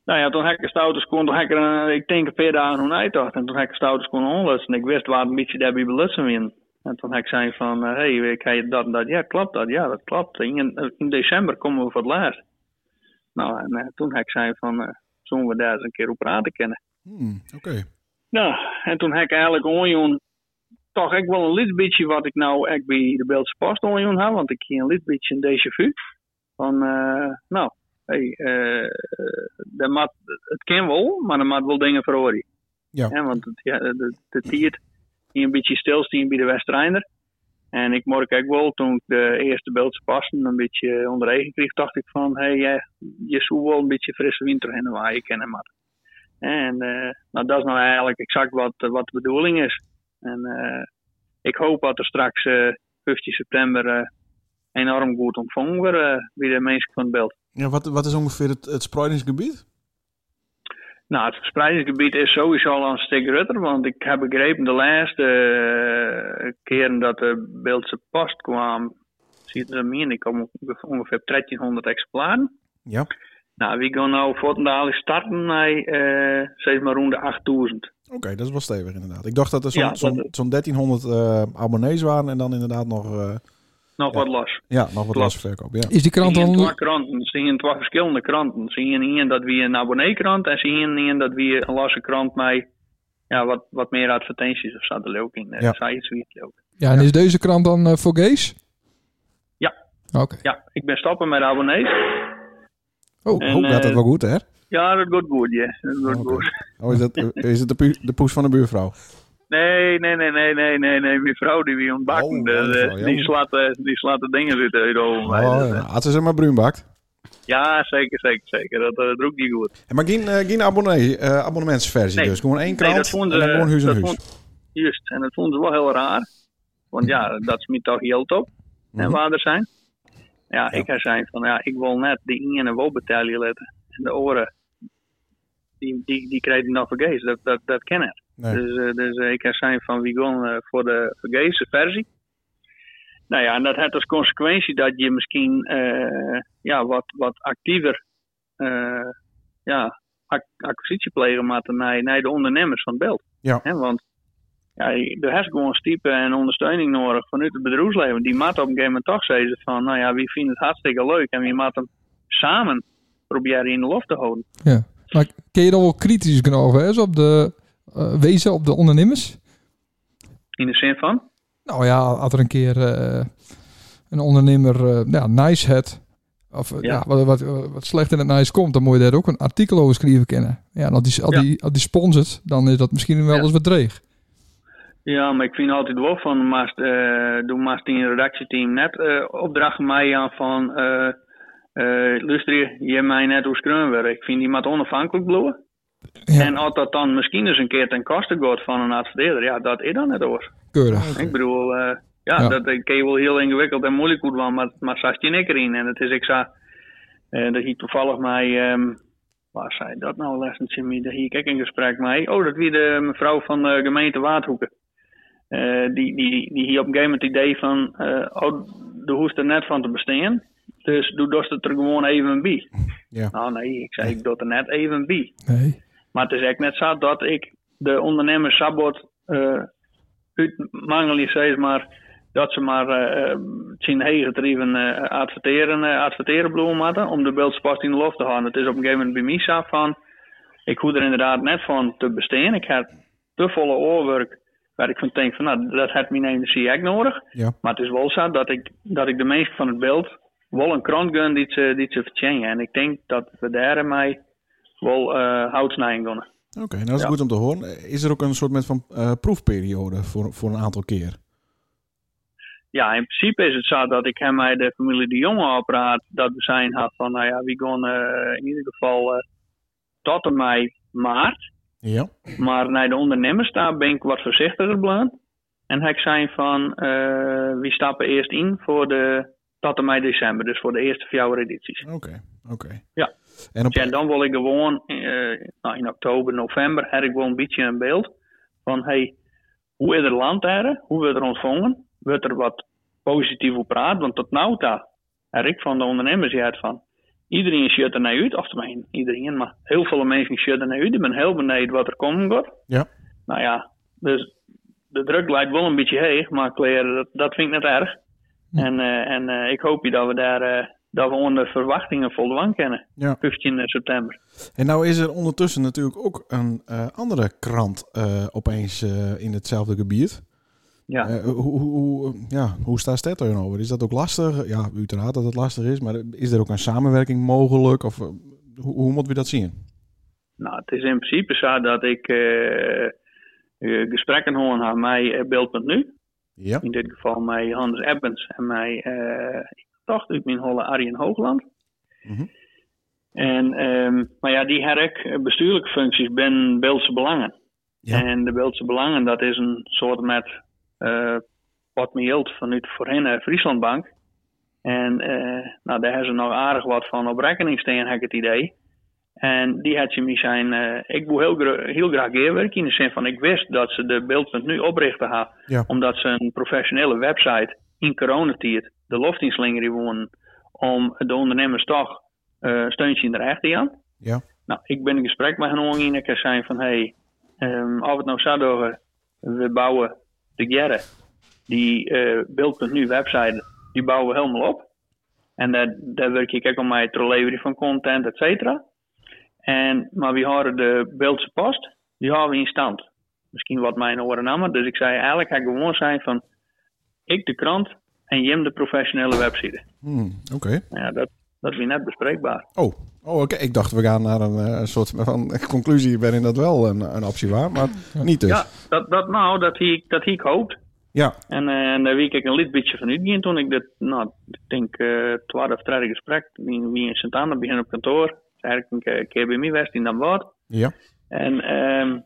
nou ja, toen heb ik een stoute kon, toen heb ik er, een- ik denk een paar dagen hoe uitdacht. En toen heb ik een stoute kon onlutsen. Ik wist waar een beetje daarbij belutsen winnen. En toen heb ik zei van, hé, hey, ik heb dat en dat. Ja, klopt dat. Ja, dat klopt. In, in december komen we voor het laatst. Nou, en eh, toen heb ik zei van, eh zullen we daar eens een keer op praten kennen? Hmm, Oké. Nou, en toen heb ik eigenlijk onjoen, toch echt wel een lid beetje wat ik nou echt bij de Beeldse Post onjoen had. Want ik hier een lid beetje een déjà vu. Van, eh, nou, hey, eh, daar moet- het kan wel, maar er moet wel dingen verhoren. Ja. want het, ja, de, de tiert die een beetje stilstaan bij de Westrijner. En ik merk ook wel, toen ik de eerste Beeldse Passen een beetje onder eigen kreeg, dacht ik van, hé, hey, jij- je zou wel een beetje frisse winter hebben waar je kennen maar. En eh, nou, dat is nou eigenlijk exact wat, eh, wat de bedoeling is. En eh, ik hoop dat er straks eh 15 september eh, enorm goed ontvangen wordt eh, bij de mensen van het beeld. Ja, wat, wat is ongeveer het, het spreidingsgebied? Nou, het verspreidingsgebied is sowieso al een stuk rutter, want ik heb begrepen de laatste eh, keren dat de Beeldse Post kwam, zitten er meer, ik om ongeveer 1300 exemplaren. Ja. Nou, we gaan nou voortdurend starten naar eh zeg maar rond de 8000. Oké, dat is wel stevig inderdaad. Ik dacht dat er zo'n Ja, dat zo'n- is- zo'n 1300 eh, abonnees waren en dan inderdaad nog, eh, Nog wat los. ja, nog wat Klopt. lasverkoop. Ja. is die krant Zie je twee dan... kranten, zie je twee verschillende kranten. Zie je één dat we een abonneekrant en zie je één dat we een losse krant met ja, wat, wat meer advertenties of zat er ook in. Ja. Ja. Zij iets wie het ook. Ja, en is deze krant dan eh, voor gays? Ja. Oké. Ja, ik ben stappen met abonnees. Oh, En, oh, gaat dat eh, wel goed, hè? Ja, dat gaat goed, ja. Dat gaat Oké. goed. Oh, is, dat, is het de, pu- de poes van de buurvrouw? Nee, nee, nee, nee, nee, nee, nee. Mijn vrouw die wie ontbakken, Oh, mijn eh, vrouw, ja. die, slaat, eh, die slaat de dingen zitten uit over Oh, mij. Dat, eh, ja. Als ze ze maar bruin bakt. ja, zeker, zeker, zeker. Dat, eh, dat doe ik niet goed. En Maar geen, eh, geen abonnee, eh, abonnementsversie Nee. dus. Gewoon één Nee, krant dat vonden en dan ze- gewoon huis en dat huis. vond- juist, en dat vonden ze wel heel raar. Want ja, Mhm. dat is me toch heel top. En waar er zijn. Ja, ik ga zijn van, ja, ik wil net die ene wel betalen letten. En de oren, die, die, die krijg je nog vergees. Dat, dat, dat ken ik. Nee. Dus, eh, dus eh, ik ga zijn van, wie gaan eh, voor de vergeese versie. Nou ja, en dat heeft als consequentie dat je misschien eh, ja, wat, wat actiever eh, ja, ac- acquisitie plegen moet naar, naar de ondernemers van het beeld. Ja. Hè, want ja, er is gewoon stiepen en ondersteuning nodig vanuit het bedrijfsleven. Die maat op een gegeven moment toch zeggen van, nou ja, wie vindt het hartstikke leuk en wie maat hem samen proberen in de lof te houden. Ja. Maar kun je dan wel kritisch genoeg wezen op de, eh, wezen op de ondernemers? In de zin van, Nou ja, als er een keer eh, een ondernemer eh, ja, nice had, of eh, Ja. ja. wat, wat, wat slecht in het nice komt, dan moet je daar ook een artikel over schrijven kennen. Ja, en als die, als Ja. die, als die sponsort, dan is dat misschien wel Ja. eens wat dreig. Ja, maar ik vind altijd wel van, maar eh doe maar in het redactieteam net eh opdrachten mij aan van, eh eh luister je, je mij net hoe scrum werkt. Ik vind die moet onafhankelijk blijven. Ja, En als dat dan misschien eens een keer ten koste gaat van een adverteerder, ja, dat is dan net hoor. keurig. Ik bedoel, eh, ja, Ja. dat kan je wel heel ingewikkeld en moeilijk goed van, maar, maar zat je niks erin. En het is, ik zag, eh dat hier toevallig mij, ehm, waar zei dat nou, lessentje mee, daar hier ik in gesprek mee. Oh, dat wie de mevrouw van de gemeente Waardhoeken. Eh, die, die, die hier op een gegeven moment het idee van, eh, oh, de hoest er net van te bestaan. Dus doe dat het er gewoon even bij. Ja. Nou nee, ik zei, ik doe het er net even bij. Nee. Maar het is echt net zo dat ik de ondernemer Sabot eh uit Mangeli steeds maar dat ze maar eh, eh zien heegetrieven eh adverteren, eh, adverteren bloemen om de beeldspast in de lof te houden. Het is op een gegeven moment bij mij zo van, ik hoef er inderdaad net van te besteden. Ik heb te volle oorwerk waar ik van denk van, nou, dat heeft mijn energie echt nodig. Ja. Maar het is wel zo dat ik, dat ik de meeste van het beeld wel een krant gun die ze, die ze vertjengen. En ik denk dat we daarmee wel eh hout snijden kunnen. Oké, nou dat is Ja. goed om te horen. Is er ook een soort met van eh, proefperiode voor, voor een aantal keer? ja, in principe is het zo dat ik hem bij de familie de Jonge opraad dat we zijn had van, nou ja, we gaan eh, in ieder geval eh, tot en mei maart. Ja. Maar naar de ondernemers daar ben ik wat voorzichtiger blijven. En heb ik zijn van, eh we stappen eerst in voor de, tot en mei december, dus voor de eerste vier edities. Oké, oké. Ja. En op, Ja, en dan wil ik gewoon eh, nou, in oktober, november heb ik wel een beetje een beeld van hey, hoe is het land daar? Hoe wordt er ontvangen? Wordt er wat positief op praat? Want tot nu toe heb ik van de ondernemers juist van iedereen shut er naar uit, of tenminste iedereen, maar heel veel mensen shut er naar uit. Ik ben heel benieuwd wat er komen gaat. Ja. Nou ja, dus de druk lijkt wel een beetje heeg, maar kleren, dat, dat vind ik net erg. En, eh, en eh, ik hoop je dat we daar eh, dat we onder verwachtingen voldaan kennen. Ja. 15 september. en nou is er ondertussen natuurlijk ook een eh, andere krant eh, opeens eh, in hetzelfde gebied. Ja. Eh, hoe, hoe, hoe- ja, hoe staat het over? Is dat ook lastig? Ja, uiteraard dat het lastig is, maar is er ook een samenwerking mogelijk? Of eh, hoe, hoe moeten we dat zien? Nou, het is in principe zo dat ik eh, eh, gesprekken hoor aan mij eh, Beeld.nu. Ja. In dit geval mij Hans Ebbens en mij, eh ik dacht uit mijn holle Arjen Hoogland. Mhm. En, ehm, maar ja, die heb ik bestuurlijke functies ben Beeldse Belangen. Ja. En de Beeldse Belangen, dat is een soort met eh wat me hield vanuit voorheen eh, Frieslandbank. En eh, nou, daar hebben ze nog aardig wat van op rekening staan, heb ik het idee. En die had je me zijn. eh, ik wil heel, gra- heel graag eerwerk in de zin van ik wist dat ze de beeld.nu oprichten had. Ja. Omdat ze een professionele website in coronatijd de loftinslinger wonen. Om de ondernemers toch eh steuntje in de rechten aan. Ja. Nou, ik ben in gesprek met hen ongeveer en ik heb zijn van hey, ehm als we het nou zou doen, we bouwen de Gerre, die eh beeld.nu website, die bouwen we helemaal op. En daar, daar werk ik ook aan mijn leveren van content, et cetera. En, maar we hadden de Beeldse post, die hadden we in stand. Misschien wat mijn oren namen. Dus ik zei eigenlijk ga ik gewoon zijn van ik de krant en Jim de professionele website. Hmm, Oké. Nou ja, dat, dat is weer net bespreekbaar. Oh, oh oké. Ik dacht we gaan naar een eh, soort van conclusie waarin dat wel een, een optie was, maar niet dus. Ja, dat, dat nou, dat hier dat hier ik hoopt. Ja, En, eh, en daar wiek ik een lid beetje van uitging toen ik dat, nou, ik denk eh 12 of 13 gesprek, wie wie in Sint-Anne begin op kantoor. Eigenlijk een keer bij mij was in dan wat. ja. En ehm,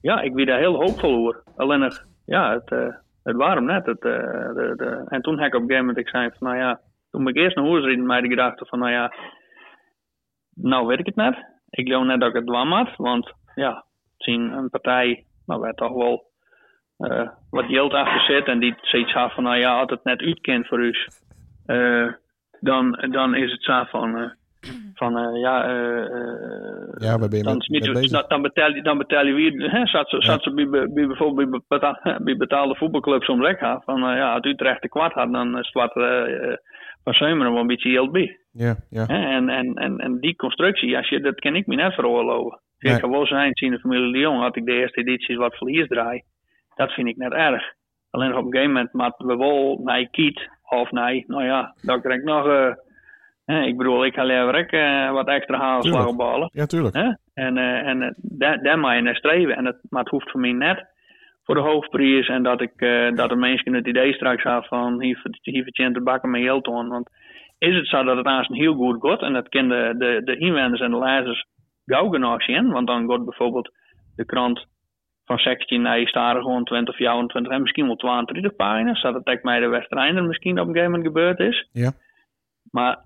ja, ik wie daar heel hoopvol over. Alleen nog, ja, het, eh het waarom net. Het, eh, de, de, en toen heb ik op een gegeven moment, ik zei van, nou ja, toen ben ik eerst naar huis reden met de gedachte van, nou ja, nou weet ik het net. Ik geloof net dat ik het dwam had, want ja, zien een partij, nou waar toch wel eh, wat geld achter zit en die zoiets had van, nou ja, had het net uitkend voor u, eh, dan, dan is het zo van, eh, Van eh, ja, eh, eh, Ja, waar ben je dan, met- is niet mee zo- bezig? dan, dan betel je, dan betel je weer, hè, zat ze, zat ze bij, be- bij bijvoorbeeld bij, beta- bij betaalde voetbalclubs om lekker. Van eh, ja, als Utrecht de kwart had, dan is het wat eh, eh, van Zeumeren wel een beetje heel bij. Ja, ja. Hè, En, en, en, en die constructie, als je, dat kan ik me net veroorloven. Ik Nee. kan wel zijn, zien de familie de Jong, had ik de eerste edities wat verlies draai. Dat vind ik net erg. Alleen op een gegeven moment moeten we wel naar Kiet of naar, nou ja, dan krijg ik nog, eh, hè, ik bedoel, ik ga liever ook, eh, wat extra halen, Tuurlijk. slag op ballen. Ja, tuurlijk. Hè? En, eh, en eh, daar, daar mag je naar streven. En dat, maar het hoeft voor mij net voor de hoofdprijs. En dat, ik, eh, dat de mensen het idee straks hebben van hier, ver- hier verdient de bakken met geld aan. Want is het zo dat het aanzien heel goed gaat. En dat kunnen de, de, de inwoners en de lezers gauw genoeg zien. Want dan gaat bijvoorbeeld de krant van 16 naar Istaren gewoon 20, 24 en misschien wel 32 pagina's. Zodat het ook mij de Westereinder misschien op een gegeven moment gebeurd is. Ja. Maar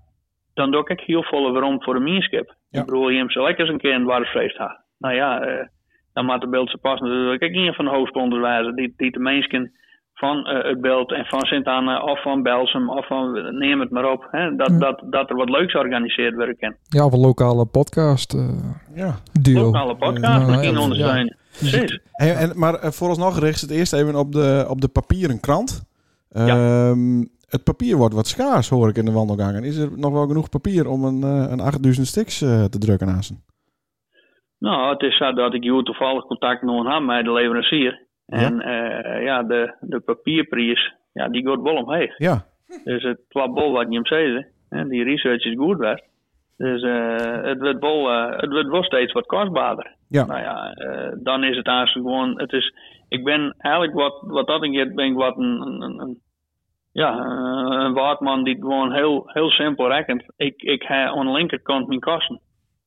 dan doe ik heel veel waarom voor de mienskip. Ja. Ik bedoel, je hem zo lekker eens een keer in het warfreest had. Nou ja, eh, dan maakt de beeld ze pas natuurlijk ook een van de hoofdsponsors wijzen. Die, die de mensen van eh, het beeld en van Sint-Anne of van Belsum of van neem het maar op. Hè, dat, dat, dat er wat leuks georganiseerd wordt. in. Ja, of een lokale podcast eh, Ja. duo. Lokale podcast Ja, misschien ja, ondersteunen. Precies. En, en, maar eh, vooralsnog richt het eerst even op de, op de papieren krant. Ehm, het papier wordt wat schaars, hoor ik in de wandelgangen. Is er nog wel genoeg papier om een, eh, een 8000 stiks eh, te drukken naast een? Nou, het is zo dat ik hier toevallig contact nog had met de leverancier. En eh, ja, de, de papierprijs, ja, die gaat wel omheen. Ja, Dus het klopt bol wat je hem zei. hè. Die research is goed werd. Dus eh, het, wordt wel, eh, het wordt wel steeds wat kostbaarder. Ja. Nou ja, eh, dan is het eigenlijk gewoon. Het is, ik ben eigenlijk wat, wat dat ik heb, ben ik wat een, een, een- een- ja, eh, een waardman die het gewoon heel, heel simpel rekent. Ik, ik heb aan de linkerkant mijn kosten.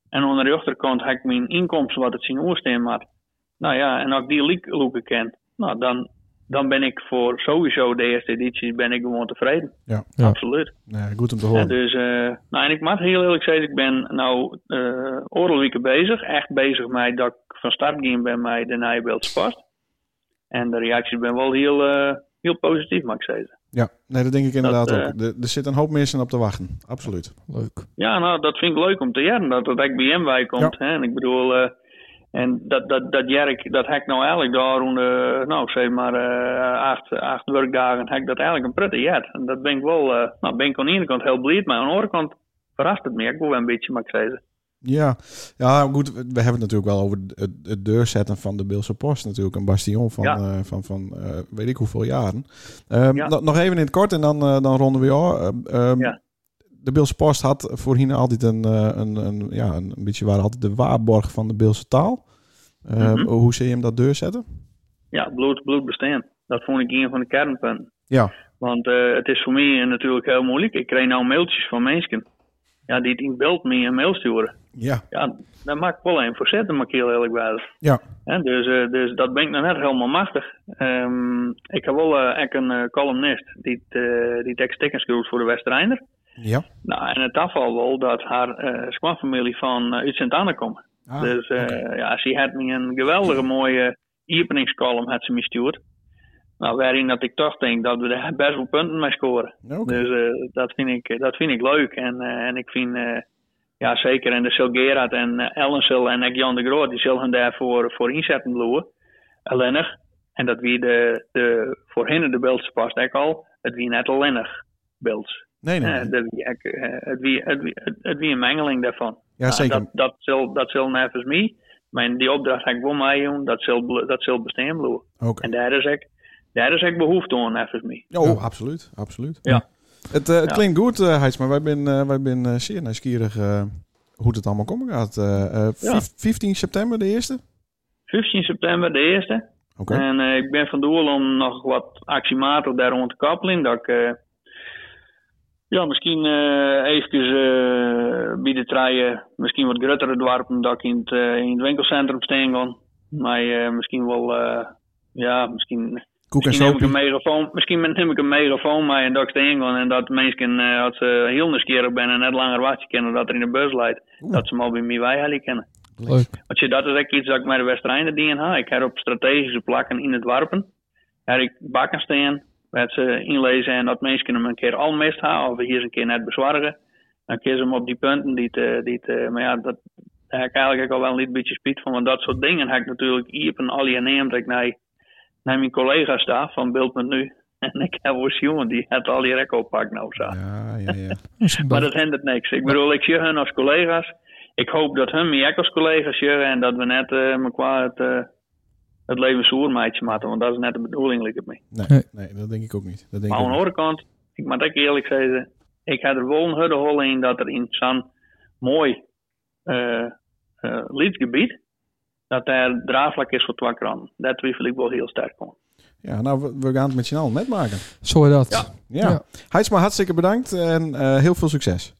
En aan de rechterkant heb ik mijn inkomsten wat het zien oorsteen maakt. Nou ja, en als ik die leak loeken ken, nou dan, dan ben ik voor sowieso de eerste editie ben ik gewoon tevreden. ja. Ja. Absoluut. Nee, goed om te En horen. dus, eh, nou, en ik mag heel eerlijk zeggen, ik ben nou eh oorlogweken bezig. Echt bezig met dat ik van start ging bij mij de Nijbeeldse past. En de reacties ben wel heel, eh, heel positief, mag ik zeggen. Ja, nee, dat denk ik inderdaad Dat, eh, ook. Er, er zit een hoop mensen op te wachten. Absoluut. Leuk. Ja, nou, dat vind ik leuk om te jaren, dat dat ik bij hem bij komt. Hè? En ik bedoel, eh, en dat, dat, dat jerk, dat heb ik nou eigenlijk daar rond, eh, nou, zeg maar, eh, acht, acht werkdagen, heb ik dat eigenlijk een prettig jaar. En dat ben ik wel, eh, nou, ben ik aan de ene kant heel blij, maar aan de andere kant verrast het me ook wel een beetje, mag ik zeggen. Ja. ja, goed. We hebben het natuurlijk wel over het, het deurzetten van de Beelse Post. Natuurlijk een bastion van, Ja. eh, van, van eh, weet ik hoeveel jaren. Ehm, Ja. no- Nog even in het kort en dan, eh, dan ronden we af. Ehm, ehm, Ja. De Beelse Post had voorheen altijd een, eh, een, een, ja, een, een beetje waren altijd de waarborg van de Beelse taal. Ehm, Mhm. Hoe zie je hem dat deurzetten? Ja, bloed, bloed bestaan. Dat vond ik een van de kernpunten. Ja. Want eh, het is voor mij natuurlijk heel moeilijk. Ik kreeg nou mailtjes van mensen ja, die het in beeld me een mail sturen. Ja, Ja, daar maak ik wel een voor zetten, mag ik heel eerlijk wijzen. ja. Hè, dus, eh, dus dat ben ik nog net helemaal machtig. Ehm, ik heb wel eh, echt een eh, columnist die, het, eh die tekst tekens schreeuwt voor de Westereinder. ja. Nou, en het afval wel dat haar eh schoonfamilie van eh, uit Sint-Anne komt. Ah, dus eh, ja, ze had me een geweldige mooie openingscolumn had ze me gestuurd. Nou, waarin dat ik toch denk dat we daar best wel punten mee scoren. Oké. Dus eh, dat, vind ik, dat vind ik leuk. En, eh, en ik vind, eh, ja zeker, en de Sil Gerard en eh, Ellensel en ook Jan de Groot, die zullen daarvoor voor inzetten bloeien. Ellenig. En dat wie de, de voorheen de beeldse past ook al, het wie net ellenig beelds. Nee, nee. Eh, nee. dat wie ek, eh, het, wie, het, wie, het, het wie een mengeling daarvan. Nou, Ja, zeker. Dat, dat zal, dat zal nevens mij. Mijn, die opdracht heb ik wel mij doen, dat zal, bl- dat zal bestaan blijven. Oké. En daar is ik, daar is ik behoefte aan nevens mij. Ja, oh, absoluut, absoluut. Ja. Het, eh, het Ja. klinkt goed, eh Heids, maar wij zijn eh, wij zijn eh, zeer nieuwsgierig eh, hoe het allemaal komen gaat. Eh, eh, Ja. vijf- 15 september, de eerste? 15 september, de eerste. Oké. En eh, ik ben van doel om nog wat actiematig daar rond te kappelen. Dat ik eh, ja, misschien eh even eh, bij de treien, misschien wat grotere dorpen, dat ik in het, eh, in het winkelcentrum staan kan. Maar eh, misschien wel, eh, ja, misschien, Koek en misschien, neem ik soepie. een megafoon, misschien neem ik een megafoon mee en dat ik staan kan. En dat mensen, eh, als ze heel nieuwsgierig zijn en net langer wachten kennen dat er in de bus leidt, Oeh. dat ze hem al bij mij wijhalen kennen. Leuk. Want je, dat is ook iets dat ik met de Westereinden dien ha. Ik heb op strategische plakken in het warpen. Heb ik bakken staan. Waar ze inlezen en dat mensen hem een keer al mist ha. Of hier eens een keer net bezwargen. Dan kies hem op die punten die het, eh, die het, eh, maar ja, dat daar heb ik eigenlijk ook al wel een licht beetje spiet van. Want dat soort dingen heb ik natuurlijk hier en al je neemt ik naar, naar mijn collega's daar van Beeld.nu. En ik heb een jongen die het al die rekken oppakt nou zo. Ja, ja, ja. Maar dat hindert niks. Ik bedoel, ik zie hun als collega's. Ik hoop dat hun mij ook als collega's zien en dat we net eh elkaar het, eh, het leven zoer meidje maken. Want dat is net de bedoeling, lijkt het me. Nee, Nee. nee, dat denk ik ook niet. Dat denk Maar ik aan ook de niet. andere kant, ik moet ook eerlijk zeggen, ik had er wel een hudde hol in dat er in zo'n mooi eh eh, liedgebied, dat daar draagvlak is voor twakran. Daar twijfel ik wel heel sterk om. Ja, nou, we, we gaan het met z'n allen net maken. Zo is dat. Ja. Ja. Heidsma, hartstikke bedankt en eh, heel veel succes.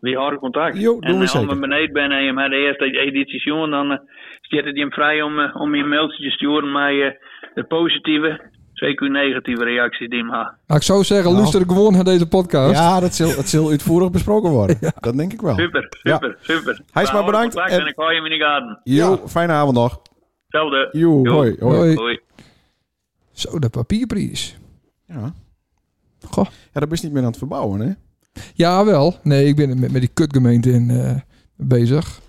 Wie houden contact? Jo, doen en we eh, als zeker. we beneden ben en je hebt de eerste editie zien, dan eh staat het je vrij om, eh, om je mailtje te sturen met eh, de positieve, zeker negatieve reacties die je hebt. Nou, ik zou zeggen, Nou. luister gewoon naar deze podcast. Ja, dat zal, dat zal uitvoerig besproken worden. Dat denk ik wel. Super, Ja. super, super. Hij is We maar houden bedankt Contact en- en... ik hou je in de gaten. Jo, Ja. fijne avond nog. Hetzelfde. Jo, Jo. hoi. hoi. Hoi. Hoi. Zo, de papierprijs. Ja. Goh. ja, dat is niet meer aan het verbouwen, hè? Jawel. Nee, ik ben er met, met die kutgemeente in eh, bezig.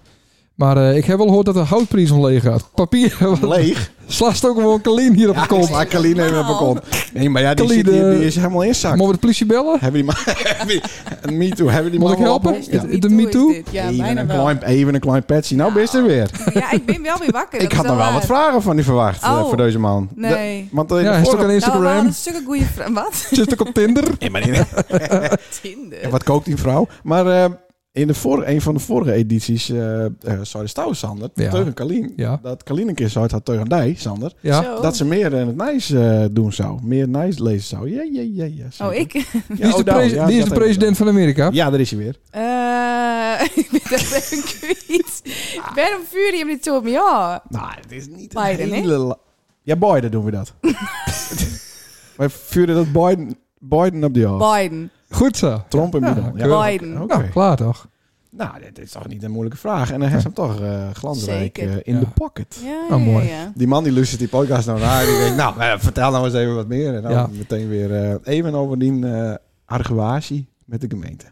Maar eh, ik heb wel gehoord dat de houtprijs omleeg gaat. Papier wat- Leeg. slaast ook gewoon Kalien hier op de kont. Maar Kalien heeft hem Normaal. op Nee, maar ja, die, Kalien, zit hier- die eh, is helemaal inzakt. Moeten we de politie bellen? Hebben die maar... Me too. Hebben die Moet man ik wel helpen? opgelost? Ja. Het- de Me Too? is dit. Ja, Even, bijna een wel. klein, even een klein petje. Nou, best er weer. Ja, ik ben wel weer wakker. Ik dat had is nog wel wat waar. Nou, vragen van die verwacht eh, Oh. voor deze man. Nee. De- want eh, Ja, de hij is ook vorige- aan Nou, we Instagram. hadden stukken goede vragen. Wat? Zit ook op Tinder. Nee, maar niet- Tinder. Ja, Eh, wat kookt die vrouw? Maar eh, in de vorige, een van de vorige edities, eh eh sorry, Stouw Sander, Ja. tegen Kalien, Ja. dat Kalien een keer zou het had tegen Dij, Sander, Ja. Zo. dat ze meer in het nice eh, doen zou. Meer nice lezen zou. Ja, ja, ja, ja. Oh, zeker. ik? Ja, Die is de, oh, nou, pres- die ja, is dat de even. president van Amerika. Ja, daar is hij weer. Eh, ik ben daar even kwijt. Ik ben op vuur, je hebt niet zo op me. Ja. Nou, het is niet Biden, een hè? hele... la- Ja, Biden doen we dat. Wij vuurden dat Biden, Biden op die hoofd. Biden. Goed zo. Trump in middel. keurig. Biden. Oké. Nou, klaar toch? Nou, dit is toch niet een moeilijke vraag. En dan heeft ze hem toch eh, glansrijk Zeker. eh, in Ja. de pocket. Ja, Oh, ja, mooi. ja. Die man die luistert die podcast nou naar. Die denkt, nou, eh, vertel nou eens even wat meer. En dan Ja. meteen weer eh, even over die eh argwatie met de gemeente.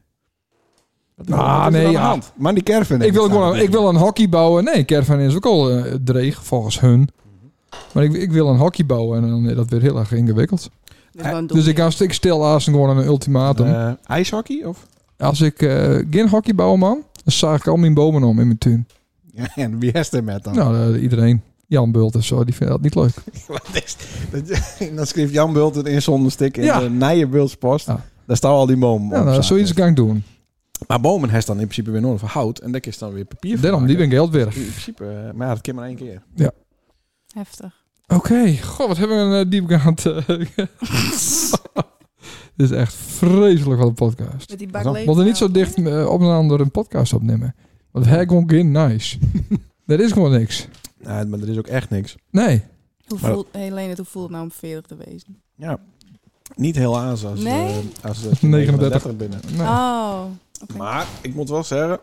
Wat is er- Ah, wat is er nee, aan de ja. hand? Maar die caravan... Ik wil, heeft gewoon, staan. ik wil een hockey bouwen. Nee, Caravan is ook al eh, dreig, volgens hun. Mhm. Maar ik, ik wil een hockey bouwen en dan, dat werd heel erg ingewikkeld. Dus, gewoon doen. Dus ik ga stik stil aan gewoon een ultimatum. Eh, ijshockey? Of? Als ik eh, geen hockey bouw, man, dan zaag ik al mijn bomen om in mijn tuin. Ja, en wie heeft er met dan? Nou, eh, iedereen. Jan Bult en zo, die vindt dat niet leuk. Wat is- dat- dan schreef Jan Bult het in zonder stik in Ja. de Nije Bultspost. Ja. Daar staan al die bomen Ja, op nou, zaten. zoiets kan ik doen. Maar bomen heeft dan in principe weer nodig voor hout. En daar is dan weer papier van Daarom, die ben maken. ik geld weg. In principe, eh, maar ja, dat kan maar één keer. Heftig. Oké, goh, wat hebben we een eh, diepgaand... eh, Dit is echt vreselijk wat een podcast. Met die Waarom? bak nou. Want er niet zo dicht eh, op een ander een podcast opnemen. Want hij gewoon geen nice. dat is gewoon niks. Nou, maar er is ook echt niks. Nee. Hoe Maar- voelt, Helene, het, hoe voelt het nou om 40 te wezen? Ja, niet heel aas als, Nee? eh, als eh, 39. binnen. nee. Oh. Maar ik moet wel zeggen, Nou,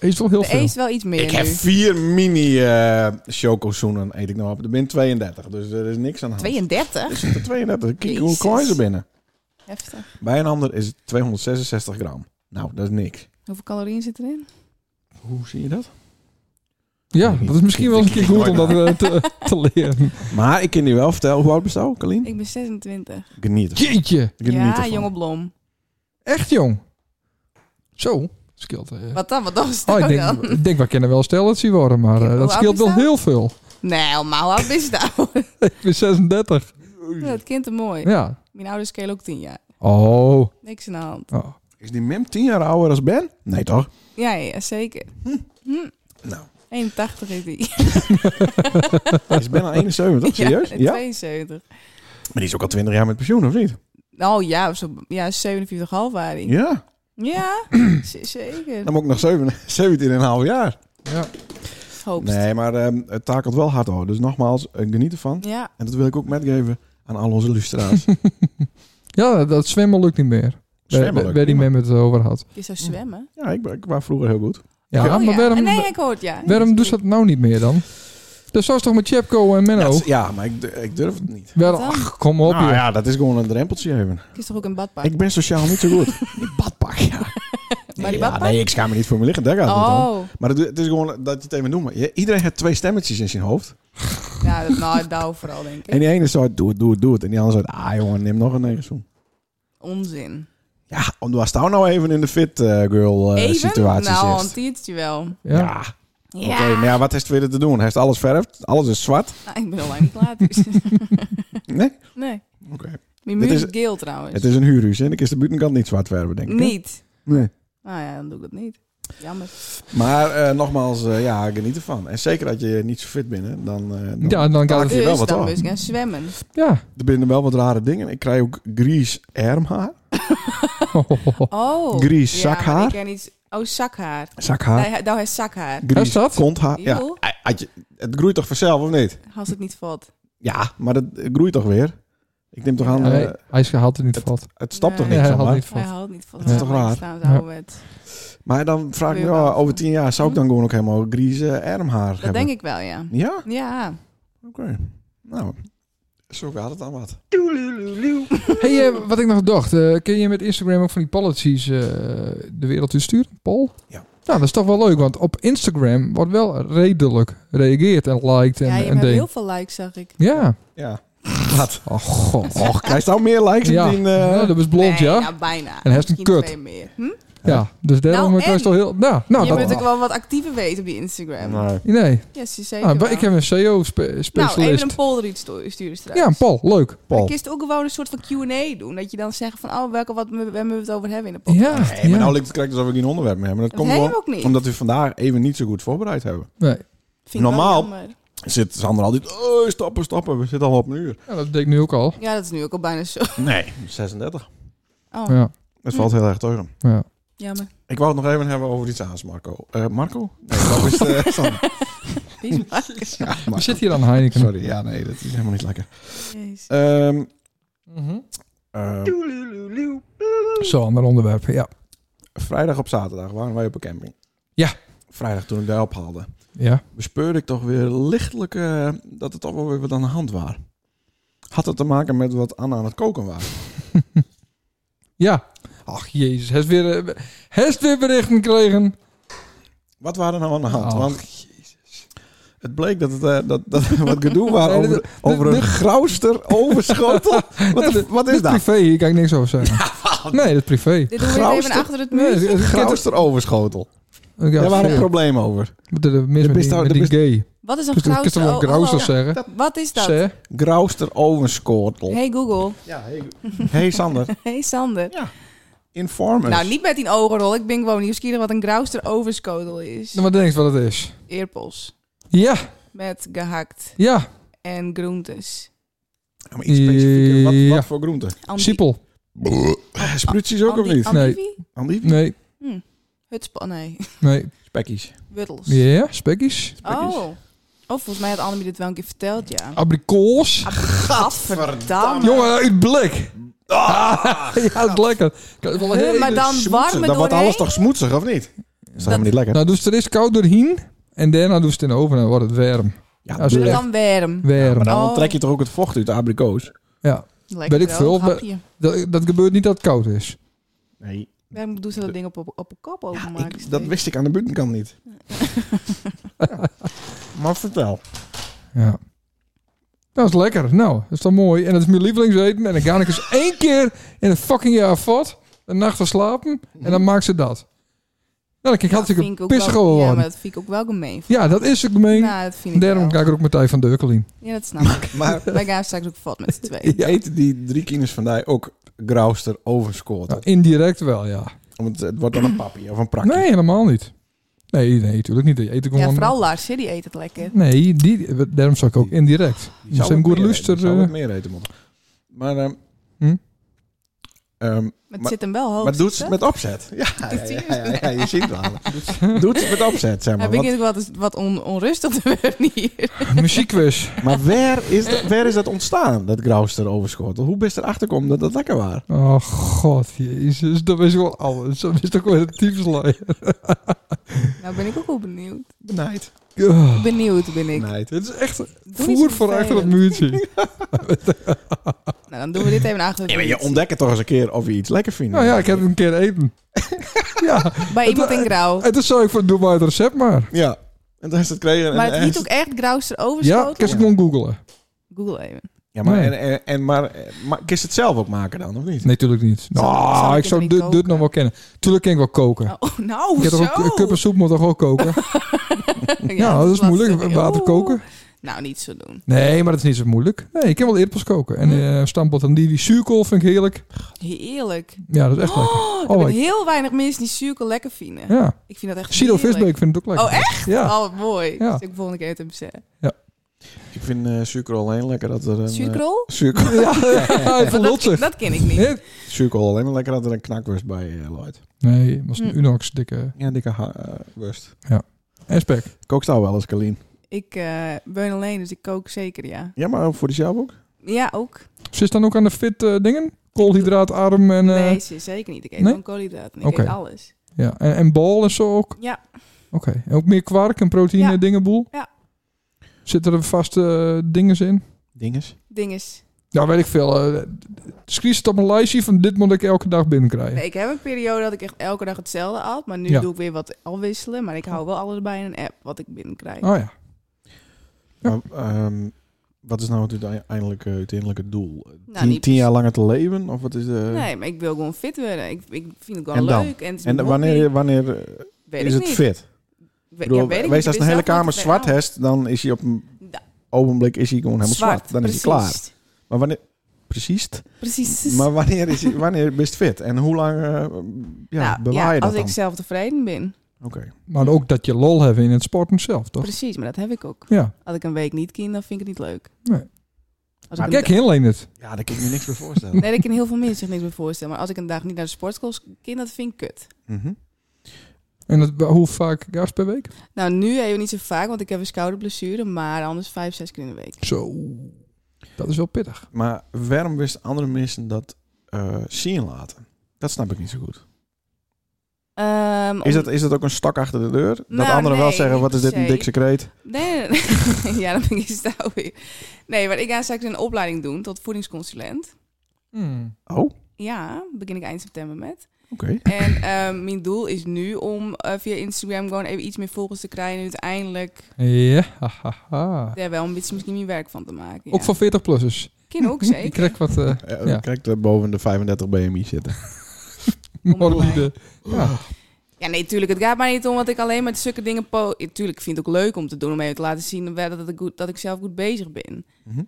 Toch is wel heel De veel. is wel iets meer ik heb nu. vier mini eh chocozoenen eet ik nou op. Er ben 32, dus er is niks aan de hand. 32? Er zitten 32. Kijk hoe Jezus. klein ze binnen. Heftig. Bij een ander is het 266 gram. Nou, dat is niks. Hoeveel calorieën zit erin? Hoe zie je dat? Ja, dat is misschien wel eens een keer goed om dat eh, te, te leren. Maar ik kan je wel vertellen, hoe oud bist je, Kalien? Ik ben 26. Geniet ervan. Jeetje. Geniet ja, ervan. jonge Blom. Echt, jong. Zo. Scheelt. eh. Wat dan? Wat dan? Stel Oh, ik dan. denk, ik denk we kunnen wel stellen zien worden, maar eh, Hoe oud dat scheelt is wel dat? heel veel. Nee, maar hoe oud is het nou? Ik ben 36. Ja, dat kind is mooi. Ja. Mijn ouders schelen ook 10 jaar. Oh. Niks aan de hand. oh. Is die Mim 10 jaar ouder als Ben? Nee, toch? Ja, ja zeker. Hm. Nou. 81 is die. Is Ben al Oh, 71? Serieus? Ja. Ja, 72. Maar die is ook al 20 jaar met pensioen, of niet? Nou ja, zo, ja 47,5 waren die. Ja. Ja, z- zeker. Nou, Dan moet ik nog 17,5 jaar. Ja. Hoopst. Nee, maar ehm, het takelt wel hard hoor. Dus nogmaals, eh, geniet ervan. Ja, En dat wil ik ook metgeven aan al onze lustra's. ja, dat- dat zwemmen lukt niet meer. Waar- Waar waar die prima. men het over had. je zou zwemmen. Ja, ik, ben- ik was vroeger heel goed. Ja, Oh, maar waarom, Nee, ik hoor het, ja. waarom doen ze dat nou niet meer dan? Dat was toch met Chepko en Ja, Menno? het- ja, maar ik, du- ik durf het niet. Waarom- Wat dan? ach, kom Nou. op Nou joh. ja, dat is gewoon een drempeltje even. Ik is toch ook een badpak? Ik ben sociaal niet zo goed. Die badpak, ja. Maar die Ja, papa? nee, ik schaam me niet voor mijn liggen. Daar gaat het niet om. Oh, Maar het, het is gewoon dat je het even noemt. Je- Iedereen heeft twee stemmetjes in zijn hoofd. ja, dat, nou, Douw vooral, denk ik. En die ene zei, doe het, doe het, doe het. En die andere zei, ah jongen, neem nog een negenzoen. Onzin. Ja, om was nou nou even in de fit eh, girl eh, Even? situatie nou, een zit. tiertje wel. Ja. Ja, oké. Maar ja, wat is er weer te doen? Hij heeft alles verfd, alles is zwart. Nou, ik ben al lang niet klaar. dus. Nee? nee. Oké. Mijn muur Het is- is geel trouwens. Het is een huurhuis en ik is de buitenkant niet zwart verven, denk ik. hè? Niet. Nee. Nou ja, dan doe ik dat niet. Jammer. Maar eh, nogmaals, eh, ja, geniet ervan. En zeker dat je niet zo fit bent, hè, dan, eh dan, Ja, dan gaat het... je wel Dus wat dan aan. moet ik gaan zwemmen. Ja. er binnen wel wat rare dingen. Ik krijg ook gries ermhaar, Oh. Gries ja, maar zakhaar? Ik ken iets. Oh, zakhaar. zakhaar, Nee, nou, hij is zakhaar. gries Is dat? konthaar. Ja, Joh. had je- het groeit toch vanzelf, of niet? Als het niet valt. Ja, maar dat groeit toch weer? Ik neem toch aan, Nee, eh, hij is gehaald en niet valt. het stapt toch Nee, Nee, hij niks aan, haalt maar. niet Hij valt. houdt niet van Dat is toch raar? Ja. Maar dan vraag ik me, Weer ja, wel. Hm. over tien jaar zou ik dan gewoon ook helemaal grieze ermhaar hebben? Dat denk ik wel, ja. Ja? Ja. Oké. Nou, zo gaat het dan wat. hey, eh, wat ik nog dacht. eh, kun je met Instagram ook van die policies eh, de wereld insturen, Paul? Ja. Nou, dat is toch wel leuk, want op Instagram wordt wel redelijk reageerd en liked en, ja, je en hebt ding. heel veel likes, zag ik. Ja. Ja. Wat? Oh, god. Och, krijg je nou meer likes ja. op die... eh, Ja, dat is blond, nee, ja. nou, bijna. En hij is een Misschien kut. twee meer. Hm? Ja, dus daarom Nou, kan je en? toch heel... Nou, nou je dat... moet ook wel wat actiever weten op die Instagram. Nee. Nee. Yes, je Ah, zeker maar wel. ik heb een CEO-specialist. Nou, even een polder iets stu- sturen straks. ja, een Paul. Leuk. Maar Paul. kun je het ook gewoon een soort van Q&A doen. Dat je dan zegt van, oh, welke wat we, waar we het over hebben in de podcast. Ja. Nee, maar ja. nou lijkt het correct alsof we geen onderwerp meer hebben. Dat Dat komt hebben we gewoon ook niet. omdat we vandaag even niet zo goed voorbereid hebben. Nee. Vind ik wel Normaal. jammer. Zit Sander altijd, oh, stappen, stappen, we zitten al op een uur. Ja, dat deed ik nu ook al. Ja, dat is nu ook al bijna zo. Nee. 36. Oh, Ja. Het valt heel erg tegen. ja. jammer. Ik wou het nog even hebben over iets aans, Marco. Eh, Marco? Nee, dat is eh, Sander. Die is maar- Ja, Marco. We zitten hier aan Heineken. Sorry, ja, nee, dat is helemaal niet lekker. Jezus. Ehm, Mhm. ehm, Zo, ander onderwerp. Ja. vrijdag op zaterdag waren wij op een camping. Ja. Vrijdag toen ik daar ophaalde, Ja. bespeurde ik toch weer lichtelijk eh, dat het toch wel weer wat aan de hand was. Had het te maken met wat Anna aan het koken was? Ja. Ach, jezus. Hij is weer, eh, hij is weer berichten gekregen. Wat waren er nou aan de hand? Ach, Want het bleek dat, het, eh, dat, dat er wat gedoe was Nee, over, dit- over dit- een grauwster overschotel. Wat, de- wat Dit is is dat? privé. Hier kan ik niks over zeggen. nee, dat is privé. Dit doen we Grauwste- even achter het Nee, muur. het- het- Grauwster overschotel. Ja, Daar waren een sorry. probleem over. De- de- mis Er met is die, daar- met er die is- gay. Wat is een Ik kan grauwster? toch wel Oh, hallo. grauwster zeggen? Wat is dat? Zeg. Grauwster overschotel. Hey Google. Ja, hey. hey Sander, Hey Sander. inform us. Nou, niet met die ogenrol. Ik ben gewoon nieuwsgierig wat een grauwster overschotel is. Nou, wat denk je wat het is? Eerpels. Ja. Met gehakt Ja. en groentes. Ja, maar iets specifieker. Wat, Ja. wat voor groente? Ah, Andi- Siepel. Spruitjes ook of andi- niet? Andivie? Andieven? Nee. Hutspa- nee. Nee. Spekkies. Wuttels. Ja, spekkies. Oh. Oh, volgens mij had Annemie dit wel een keer verteld, ja. Abrikoos. Gadverdamme. Jongen, uit blik. Ah, ja, het is lekker. Ik had wel een Huh, hele- Eh, maar dan warm Dan wordt doorheen. alles toch smoetsig, of niet? Dat is helemaal niet lekker. Nou, doe ze er eerst koud doorheen. En daarna doe ze het in de oven en dan wordt het warm. Ja, als bleh. je- Dan warm. Warm. maar dan Oh. onttrek je toch ook het vocht uit de abrikoos? Ja. Lekker Weet ik veel, droog hapje. Dat, dat gebeurt niet dat het koud is. Nee. Waarom doen ze dat ding op, op, op een kop openmaken? Ik, steeds? dat wist ik aan de buitenkant niet. Ja. Maar vertel. Ja. Dat is lekker. Nou, dat is toch mooi. En dat is mijn lievelingseten. En dan ga ik eens één keer in een fucking jaar vat. Een nacht van slapen. En dan maakt ze dat. Nou, dan kijk ik Dat vind ik hartstikke ook wel- pissig Mhm. Ja, geworden. maar Ja, dat vind ik ook wel gemeen. dat is ook gemeen. Nou, dat vind ik Daarom wel. ga ik er ook Martijn van Deukelien. Ja, dat snap ik. Maar Wij gaan straks ook vat met z'n tweeën. je eet die drie kines van die ook grauwster Nou, overscoort. indirect wel, ja. Want het wordt dan een papje of een prakje. Nee, helemaal niet. Nee, nee, natuurlijk niet. Die Eet ik gewoon... Ja, vooral Lars, hè, die eet het lekker. Nee, die, daarom zou ik ook indirect. Die Dat zou zijn het goed meer luister. eten, die zou eh, het meer eten, man. Maar, ehm, Hm? ehm, Maar het Maar- zit hem wel hoog. maar doet ze zie het je? met opzet? Ja, ja, ja, ja, ja, je ziet het wel. Doet ze het met opzet, Hij zeg maar. Want- begint ook wat, wat on, onrustig te worden hier. Muziekquiz. maar waar is, dat, waar is dat ontstaan, dat grauwster overschotel? Hoe best erachter komen dat dat lekker was? Oh god, jezus. Dat is gewoon alles. Dat is toch gewoon een typslijn. Nou ben ik ook wel benieuwd. Benijd. Ah, Benieuwd ben ik. Benijd. dit is echt Doe niet voer zo voor achter dat vervelend. muurtje. Nou, dan doen we dit even achter Ja, maar je ontdekt het toch eens een keer of je iets lekker vindt. Nou ja, ik heb het een keer eten. ja, Bij iemand in grauw. en toen zei ik van, doe maar het recept maar. Ja. En toen is het kregen. Maar en, het hiet ook echt grauwster Ja, ik overschoten. kan ze gewoon googelen. Google even. Ja, maar, Nee. en, en, en- maar, eh, maar kun je het zelf ook maken dan, of niet? Nee, tuurlijk niet. Nou, zal ik ik het zou niet dit, koken? dit nog wel kennen. Tuurlijk ken ik wel koken. Oh, nou, ik heb zo. toch ook, een cup en soep moet toch ook koken? Ja, Ja, dat is lastig. moeilijk. Water Oeh. koken. Nou, niet zo doen. Nee, maar dat is niet zo moeilijk. Nee, ik kan wel eerdpels koken. Hm. En eh stampot en die, die zuurkool vind ik heerlijk. Heerlijk. Ja, dat is echt lekker. Oh, Oh, er zijn ik- heel weinig mensen die zuurkool lekker vinden. Ja. Ik vind dat echt Sido heerlijk. Visbeek vind ik ook lekker. Oh, echt? Ja. Oh, wat mooi. Ja. Dus ik volgende keer het hem zeggen. Ik vind eh suikerrol alleen lekker dat er een... eh, Zuurkool? Suiker, Ja, hij dat, verlult zich. dat ken ik niet. Nee, suikerrol alleen maar lekker dat er een knakwurst bij eh Lloyd. nee, het was een Hm. Unox dikke Ja, dikke ha- eh, worst. aspect. Kookst nou wel eens, Kalien. Ik eh, ben alleen, dus ik kook zeker, ja. Ja, maar voor jezelf ook? Ja, ook. Zit dan ook aan de fit eh, dingen? Koolhydraatarm en, eh, nee, ze- zeker niet. Ik eet nee? gewoon koolhydraten. Ik Oké. eet alles. ja, en, en bal en zo ook? Ja. Oké. En ook meer kwark en proteïne Ja. dingenboel? Ja. Zitten er vaste dingen in? Dinges. Ding is... Nou, weet ik veel. eh, Schrijf het op een lijstje van dit moet ik elke dag binnenkrijgen. Nee, ik heb een periode dat ik echt elke dag hetzelfde at. Maar nu Ja. doe ik weer wat afwisselen. Maar ik hou wel alles bij in een app wat ik binnenkrijg. Oh ja. Ja. Maar, ehm, wat is nou het uiteindelijke, uiteindelijke doel? Nou, tien, niet tien jaar langer te leven? Of wat is de... Nee, maar ik wil gewoon fit worden. Ik, ik vind het En gewoon dan? leuk. En, het is En mijn wanneer, hobby. wanneer eh, Weet is ik het niet. fit? We- Ik ja, bedoel, weet ik wees niet. als Ik de ben hele zelf kamer niet te zwart verhaal. heeft, dan is hij op een Da- ogenblik is hij gewoon helemaal zwart. Dan is hij klaar. precies. Maar wanneer... Precies. Precies. Maar wanneer is hij, wanneer best fit? En hoe lang eh, ja, Nou, bewaar je dat als dan? ik zelf tevreden ben. Oké. Maar ook dat je lol hebben in het sporten zelf, toch? Precies, maar dat heb ik ook. Ja. Als ik een week niet kind, dan vind ik het niet leuk. Nee. Als ik Maar een Kijk, heel alleen het. Ja, daar kan ik me niks meer voorstellen. Nee, ik kan heel veel mensen zich niks meer voorstellen. Maar als ik een dag niet naar de sportschool kind, dat vind ik kut. Mhm. En dat, hoe vaak gas per week? Nou, nu even niet zo vaak, want ik heb een schouderblessure. Maar anders vijf, zes keer in de week. Zo. Dat is wel pittig. Maar waarom wisten andere mensen dat eh, zien laten? Dat snap ik niet zo goed. Ehm, om- Is dat, is dat ook een stok achter de deur? Dat Nou, anderen wel nee, zeggen, wat is dit een niet per dik se. secreet? Nee, nee, nee. ja, dan ben ik eens daar weer. Nee, maar ik ga straks een opleiding doen tot voedingsconsulent. Hmm. Oh, oké. Ja, begin ik eind september met. En ehm, mijn doel is nu om eh, via Instagram gewoon even iets meer volgers te krijgen. En uiteindelijk Ja. ha, ha, ha. daar wel een beetje misschien meer werk van te maken. Ja. Ook voor 40-plussers. Kind ook Ik zeker. krijg wat eh Ja, Ja. Kijk, daar boven de 35 BMI zitten. morbide... Ja. Ja, nee, tuurlijk. Het gaat mij niet om dat ik alleen met zulke dingen po... Ja, tuurlijk, ik vind het ook leuk om te doen. Om even te laten zien wel dat ik, goed, dat ik zelf goed bezig ben. Mhm.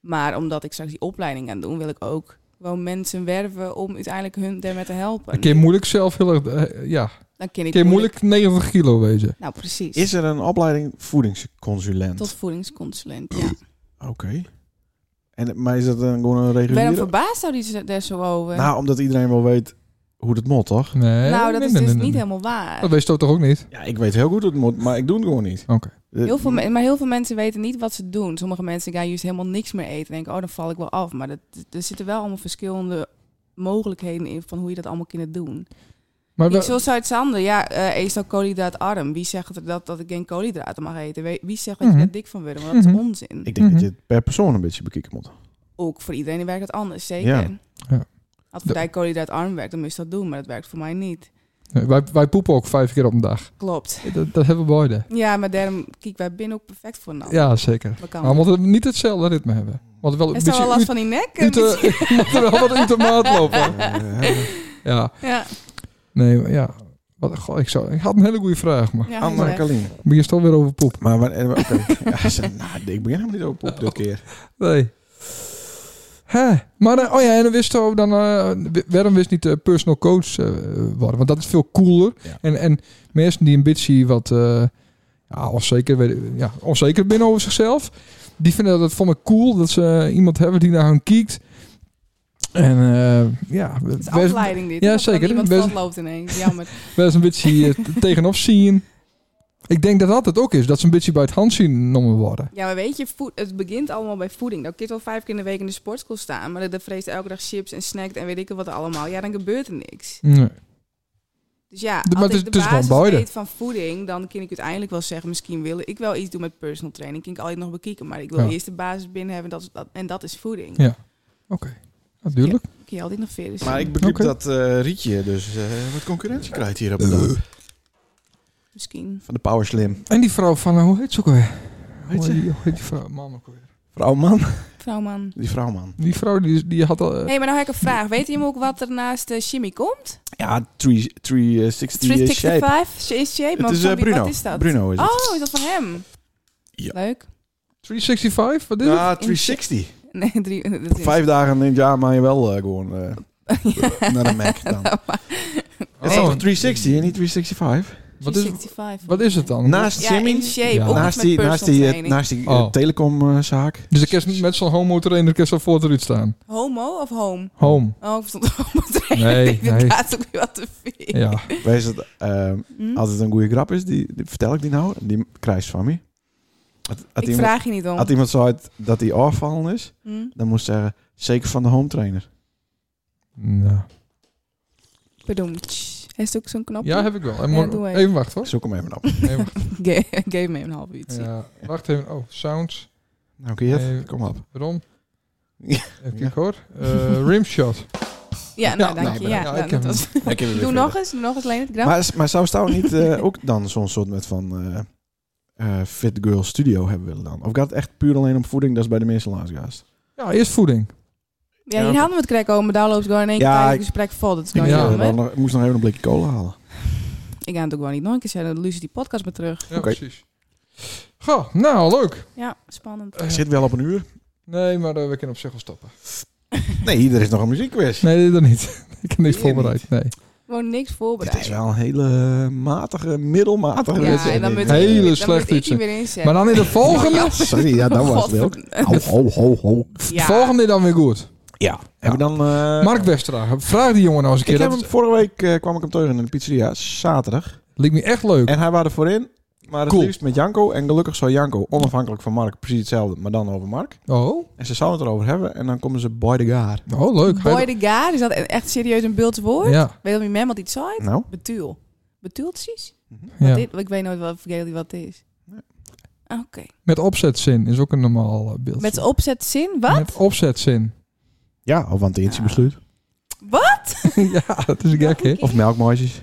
Maar omdat ik straks die opleiding ga doen, wil ik ook gewoon mensen werven om uiteindelijk hun daarmee te helpen. Dan kun je moeilijk zelf heel erg... eh, ja. Dan ken ik kun je moeilijk 90 kilo wezen. Nou, precies. Is er een opleiding voedingsconsulent? Tot voedingsconsulent, ja. Oké. En, maar is dat dan gewoon een Waarom reguliere? verbaasd zou die ze- daar zo over? Nou, omdat iedereen wel weet hoe dat moet, toch? Nee. Nou, nee, dat is nee, dus nee, niet nee. helemaal waar. Dat weet je toch ook niet? Ja, ik weet heel goed hoe het moet, maar ik doe het gewoon niet. Eh, Oké. Heel veel, men- maar heel veel mensen weten niet wat ze doen. Sommige mensen gaan juist helemaal niks meer eten. En denken, oh, dan val ik wel af. Maar dat, er zitten wel allemaal verschillende mogelijkheden in van hoe je dat allemaal kunt doen. Maar Ik, we- zoals Zuid-Sander, ja, eh eet dan koolhydraatarm. Wie zegt er dat, dat ik geen koolhydraten mag eten? Wie- Wie zegt dat Mhm. je daar dik van wordt? Want dat Mhm. is onzin. Ik denk Mhm. dat je het per persoon een beetje bekijken moet. Ook voor iedereen werkt dat anders, zeker. Ja. Ja. Als voor jij koolhydraatarm werkt, dan moet je dat doen. Maar dat werkt voor mij niet. nee, wij, wij poepen ook vijf keer op een dag. Klopt. Dat, dat hebben we beide. Ja, maar daarom kijk wij binnen ook perfect voor nou. Ja, zeker. We kan. Maar we moeten niet hetzelfde ritme hebben. Want wel een Is er wel beetje last van die nek? uit de- we moeten wel wat uit de maat lopen. Ja, Ja, nee, maar ja. Wat, goh, ik, zou, ik had een hele goede vraag, maar ja hij is Anne weg. Kalien. ben je toch weer over poep? Maar wanneer... Oké. ja, ze- nou, ik begin helemaal niet op op dit keer. Nee. Hè? Maar, eh, oh ja, en dan wist ook dan, eh, w- waarom wist niet eh, personal coach eh, worden? Want dat is veel cooler. Ja. En, en mensen die een beetje wat eh, ja, onzeker, weet- ja, onzeker binnen over zichzelf, die vinden dat vond ik cool dat ze eh, iemand hebben die naar hen kijkt. En eh, ja, we- Het is we- afleiding dit. Ja, Dat dan zeker. Iemand Best- vastloopt ineens. Jammer. wel eens een beetje eh, tegenop zien. Ik denk dat dat het ook is, dat ze een beetje bij het hand zien genomen worden. Ja, maar weet je, voed- het begint allemaal bij voeding. Dan kun je wel vijf keer in de week in de sportschool staan. Maar dan vreest elke dag chips en snackt en weet ik het wat allemaal. Ja, dan gebeurt er niks. Nee. Dus ja, als maar het is- ik de het is gewoon basis beide. weet van voeding, dan kan ik uiteindelijk wel zeggen, misschien wil ik wel iets doen met personal training. Kan ik altijd nog bekijken, maar ik wil Ja. eerst de basis binnen hebben dat, is- dat, en dat is voeding. Ja. Oké, natuurlijk. Kun je altijd nog verder zien. Maar ik begreep Oké. dat eh, Rietje dus eh, wat concurrentie krijgt hier op de dag. Misschien. Van de Power Slim. En die vrouw van, eh, hoe heet ze ook weer? Heet Hoe ze? heet die, hoe heet die vrouw? Man ook weer. Vrouwman. Vrouwman. Die vrouwman. Die vrouw die, die had al... eh, Nee, maar nou heb ik een vraag. Weet je ook wat er naast de Jimmy komt? Ja, 360 eh, shape. 365 shape. shape. Het Maar is van eh, wie- Bruno. Wat is dat? Bruno is het. Oh, is dat van hem? Ja. Leuk. 365, wat is het? Ja, 360. Nee, drie, dat is- Vijf dagen in het jaar maar je wel eh, gewoon eh, naar de Mac dan. Het is Oh. toch 360 en niet 365? Wat is, 365. wat is het dan? Naast Ja, Jimmy? in shape. Ja. Ook Naast met die, naast die, personal eh, training. naast die Oh. telecomzaak. Dus ik kerst met zo'n homo trainer kerst al voor eruit staan. Homo of home? Home. Oh, ik stond homo trainen. Nee, ik nee. denk dat ook weer wat te veel. Ja. Wees het, eh, Hm? als het een goede grap is, die, die- vertel ik die nou. Die krijgt van mij. Had, had, Ik iemand, vraag je niet om. had iemand zei dat hij afvallen is, Hm? dan moest ze zeggen, zeker van de home trainer. Nou. Pardon. Tss. Heeft ook zo'n knopje? Ja, heb ik wel. En Ja, morgen- doe even. even wachten hoor. Zoek hem even op. Even wachten. Ge- Geef me een half nou, uurtje. Ja, wacht even. Oh, sounds. Nou, kun je het? Eh, Kom op. Ron. Ja. Even kijken hoor. Eh, rimshot. Ja, nou, Ja, dank nou, je. ja, Ja, ik nou, heb dat was- Doe nog eens, doe nog eens, Leonard. Graf. Maar, maar zou Stouw niet eh, ook dan zo'n soort met van eh, eh, Fit Girl Studio hebben willen dan? Of gaat het echt puur alleen om voeding? Dat is bij de meeste laatstgast. Ja, eerst voeding. ja, hier hadden we het krek over, maar daar loopt gewoon in één Ja, keer tijdens ik- het gesprek vol. Dat is Ik gewoon Ja. eh, jammer. wel nog- ik moest nog even een blikje cola halen. Ik ga het ook gewoon niet nog een keer zeggen. Dan luister die podcast maar terug. Ja, Oké. precies. Goh, nou leuk. Ja, spannend. Eh, Zit wel op een uur. nee, maar eh, we kunnen op zich wel stoppen. Eh, Nee, er is nog een muziekquiz. Nee, dat niet. ik heb niks Nee, voorbereid. Nee. Gewoon niks Dit is voorbereid. wel een hele matige, middelmatige Ja, en wedstrijd, dan denk moet ik. Hele ik- dan moet slechte ik hier uitzending. weer inzetten. eh, Maar dan in de volgende, Sorry, ja, dat was het wel. Ho, ho, ho, ho. Ja. volgende dan weer goed. Ja. Heb ik dan... eh, Mark Westra, vraag die jongen nou eens een Ik keer. heb Dat hem, vorige week eh, kwam ik hem tegen in de pizzeria, zaterdag. Leek me echt leuk. En hij was er voorin, maar het Cool. liefst met Janko. En gelukkig zou Janko, onafhankelijk van Mark, precies hetzelfde, maar dan over Mark. Oh, En ze zouden het erover hebben en dan komen ze boy the guard. oh leuk. Hij- Boy the Gaar, is dat echt serieus een beeld woord? Ja, Weet je wat mijn man wat iets zei? Nou, Betuul. Betuultjes? ja. Dit, ik weet nooit wat, vergeet ik wat het is. Ah, Oké. Met opzetzin is ook een normaal eh, beeld. Met z'n opzet zin? Wat? Met opzetzin. ja, of antieentjebesluit. Wat? ja, dat is gek, hè? Of melkmaatjes.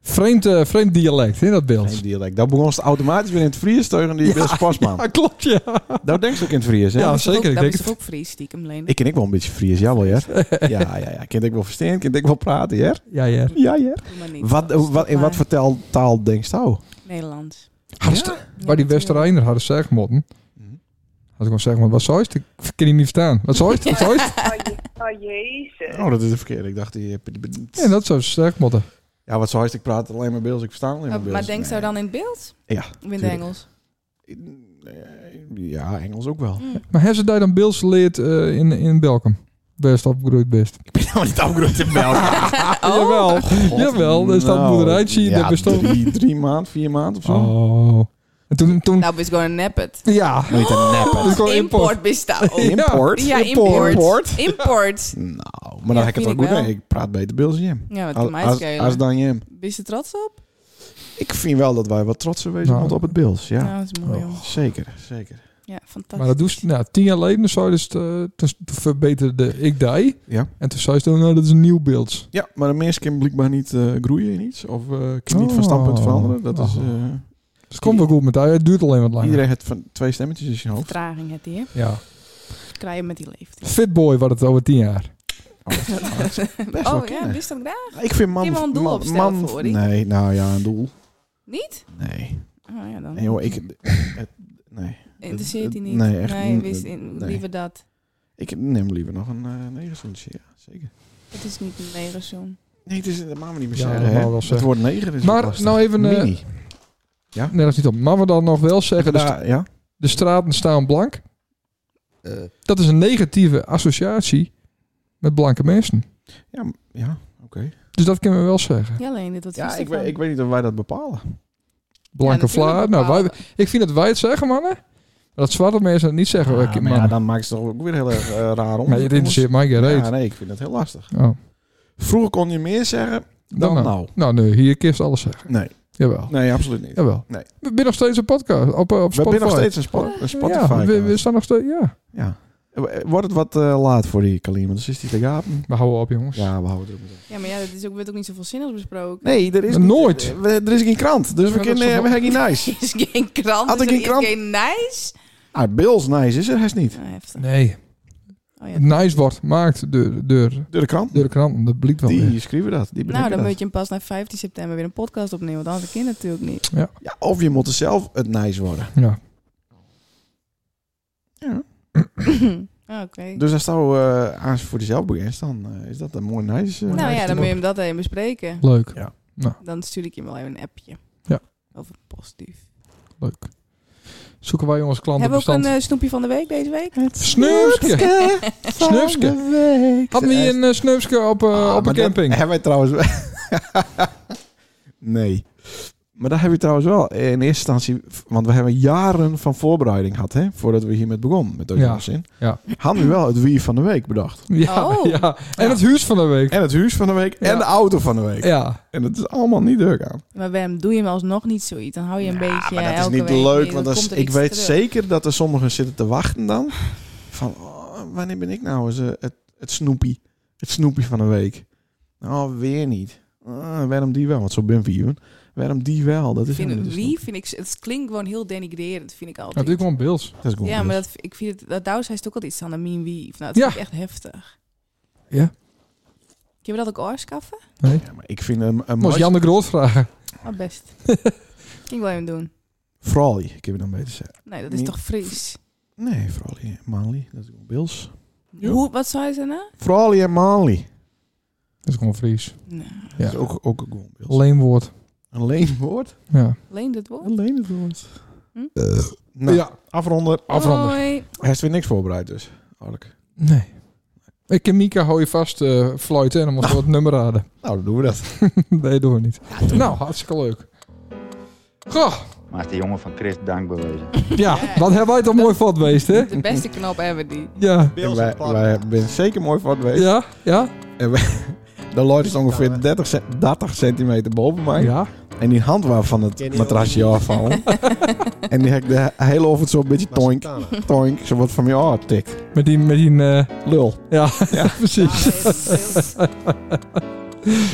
Vreemd, eh, vreemd dialect in dat beeld. Geen dialect. Dat begon ze automatisch weer in het Fries tegen die Wils Pasman. Ja, Ah, klopt, ja. Dat denk ze ook in het Fries, hè? Ja, Dat is toch zeker. Ook, dat Ik denk is het. toch ook Fries, stiekem, Leen? Ik ken ik wel een beetje Fries, ja wel, ja. Ja, ja, ja. Kind ik wel verstaan, kind ik wel praten, ja. Ja, ja. Ja, Doe ja. maar niet. Wat, Dat is wat, toch in wat maar voor taal, taal denkt jou? Nederlands. Hadden ze- Waar die natuurlijk. Westerijner hadden zeggen moeten. Mhm. Had ik gewoon zeggen, maar wat zou het? Ik kan die niet verstaan. Wat zou het? Wat zou het? Oh jezus. Oh, dat is de verkeerde. Ik dacht die... Ja, dat zou ze zeggen moeten. Ja, wat zo hard ik praat alleen maar Beels. Ik versta alleen maar Maar, Beels. maar denk zo dan in het beeld? Ja, Of in het tuurlijk. Engels? Ja, Engels ook wel. Hm. Maar hebben ze daar dan Beels geleerd eh, in, in Belkom? Best opgegroeid best. Ik ben nou niet afgeroeid in België. Ah, Oh, Jawel, jawel. Daar staat een boerderijtje. nou, Ja, daar bestond... drie, drie maand, vier maand of zo. Oh. En toen... toen Nou, is gewoon nep het. ja. Moet je dan neppen. is gewoon import. Import bestaat. Ja. Oh, Import? Ja, import. import. Import. Nou, maar dan heb vind ik het wel ik goed. wel. hè. Ik praat beter Beels dan Jim. Ja, wat kan Als, mij als, als schelen? dan Jim. Ben je er trots op? Ik vind wel dat wij wat trotser wezen Nou. moeten op het Beels. Ja, Ja, dat is mooi, Oh. joh. zeker, zeker. Ja, fantastisch. Maar dat doe ze, nou, tien jaar geleden zou je dus, eh, toen toen verbeterde ik die. Ja. En toen zei ze toen, nou, dat is een nieuw beeld. Ja, maar de mens kan blijkbaar niet eh, groeien in iets. Of eh kan niet van Oh. standpunt veranderen. Dat is, Oh. eh, Dus het komt wel goed met die, het duurt alleen wat langer. iedereen heeft van twee stemmetjes in zijn hoofd. Vertraging het hier. Ja. Krijg je met die leeftijd. Fitboy wordt het over tien jaar. Oh, Best wel Oh ja, kennen. wist dat graag? Ik vind man... Kun je wel een doel man- opstellen man- voor die? Nee, nou ja, een doel. Niet? Nee. Oh ja, dan. Nee, joh, ik... het- nee. Interesseert hij niet? Nee, echt Nee, niet. wist in, Nee. liever dat. Ik neem liever nog een eh negerzoentje, ja, zeker. Het is niet eh, een negerzoen. Nee, het is, dat mag we niet meer Ja, zeggen, dat hè. mag wel Het zeggen. woord neger is Maar wel lastig. nou even, eh, Mini. Nee, dat is niet op. Maar we dan nog wel zeggen, de, st- Daar, ja? de straten staan blank. Eh. Dat is een negatieve associatie met blanke mensen. Ja, oké. Dus dat kunnen we wel zeggen. Ja, alleen dit wat Ja, vies ik, ervan. weet, ik weet niet of wij dat bepalen. Blanke natuurlijk vlaar. Nou, wij, bepaalde. ik vind dat wij het zeggen, mannen. Maar dat zwarte mensen het niet zeggen. Ja, mannen. maar maar, ja, dan maakt het toch ook weer heel erg eh, raar om. het interesseert mij geen reet. Ja, nee, ik vind dat heel lastig. Oh. Vroeger kon je meer zeggen Dan nou. Nou, nee, hier kist alles zeggen. Nee, Jawel. Oh. nee, absoluut niet. Jawel. Nee. We zijn nog steeds een podcast op, eh, op We Spotify. zijn nog steeds een, spo- een Spotify. Ja, we, we staan nog steeds. Ja. Ja. Wordt het wat eh, laat voor die Kalim? Want dan is die te gapen. Maar hou op, jongens. Ja, we houden het op. Ja, maar ja, dat is ook, werd ook niet zoveel zinnig besproken. Nee, er is Maar niet- nooit. eh, we- er is geen krant, dus we Ja, dat kunnen is eh, toch we hebben geen nice. Is geen krant. Had is ik er- een is krant? geen nice? Ah, Bills nice is er hij niet. Oh, heftig. Nee. Oh, ja. Het nice wordt maakt door, door, Door de krant. door de krant. Dat blikt wel weer. Die schrijven dat. Die Nou, bedenken dan dat. moet je hem pas na 15 september weer een podcast opnemen. Want anders kan het natuurlijk niet. Ja, of je moet er zelf het nice worden. Ja. Oh, Oké. Dus als jou eh aan voor jezelf begint, dan eh, is dat een mooi nice. eh, nou nice ja, dan te moet je doen. hem dat even bespreken. Leuk. Ja. Dan stuur ik je wel even een appje. Ja. Over positief. Leuk. Zoeken wij jongens klanten Hebben we ook eh, bestand. een eh, snoepje van de week deze week? Snoepske. Snoepske. Hadden we hier een eh, snoepske op, eh, Ah, op een maar dat camping? Hebben wij trouwens. nee. Maar daar heb je trouwens wel eh, in eerste instantie. Want we hebben jaren van voorbereiding gehad, hè? Voordat we hiermee begonnen. Met deze Ja, onzin. ja. Hadden we wel het wie van de week bedacht. Ja, Oh. ja. En het huis van de week. En het huis van de week. Ja. En de auto van de week. Ja. En dat is allemaal niet leuk aan. Maar Wem, doe je hem alsnog niet zoiets? Dan hou je een beetje maar dat is elke niet week leuk. weer, want dan als, komt er ik iets weet terug. zeker dat er sommigen zitten te wachten dan. Van oh, wanneer ben ik nou eens eh, het, het snoepie? Het snoepie van de week. Nou, weer niet. Ah, waarom die wel? Want zo ben we hier. Waarom die wel? Dat is helemaal Vind, niet de wie vind ik... Het klinkt gewoon heel denigrerend, vind ik altijd. Dat is gewoon beels. snoep. Dat is gewoon ja, maar best. dat, ik vind het, dat Douws hij is ook altijd iets aan de mean wie. Nou, dat Ja. vind ik echt heftig. Ja. Kun je dat ook oorskaffen? Ja, maar ik vind een, een Moest mooi Jan de Groot vragen. Maar Oh, best. kan ik wel even doen. Frolly. Ik heb het dan beter zeggen. Nee, dat is Mien- toch Fries? Nee, Frolly. Manly. Dat is gewoon Bills. Ja. Hoe, wat nou? zou je zeggen? Frolly en Manly. Dat is gewoon Fries. Nou, Dat is ook, ook gewoon Bills. Leenwoord. Een leenwoord? Ja. leen dit woord. Een leenwoord. Hm? Nou, Ja. afronden. Afronden. Hoi. Hij heeft weer niks voorbereid dus. Ork. Nee. Ik en Mika hou je vast eh fluiten en dan moeten we het nummer raden. Nou, dan doen we dat. Nee, doen we niet. nou, hartstikke leuk. Goh, Maar is de jongen van Chris dankbewezen. ja, wat hebben wij toch mooi vat geweest, hè? De beste knop hebben die. Ja, En Bills wij, wij zijn zeker mooi voor het wezen. ja, ja, De Lloyd is ongeveer 30, cent- 30 centimeter boven mij. ja. En die hand waar van het Ken je matrasje wel. afvallen. en die heb ik de hele ochtend zo'n beetje toink, toink. Zo wat van mij oh, tikt. Met die, met die eh, Lul. ja, precies.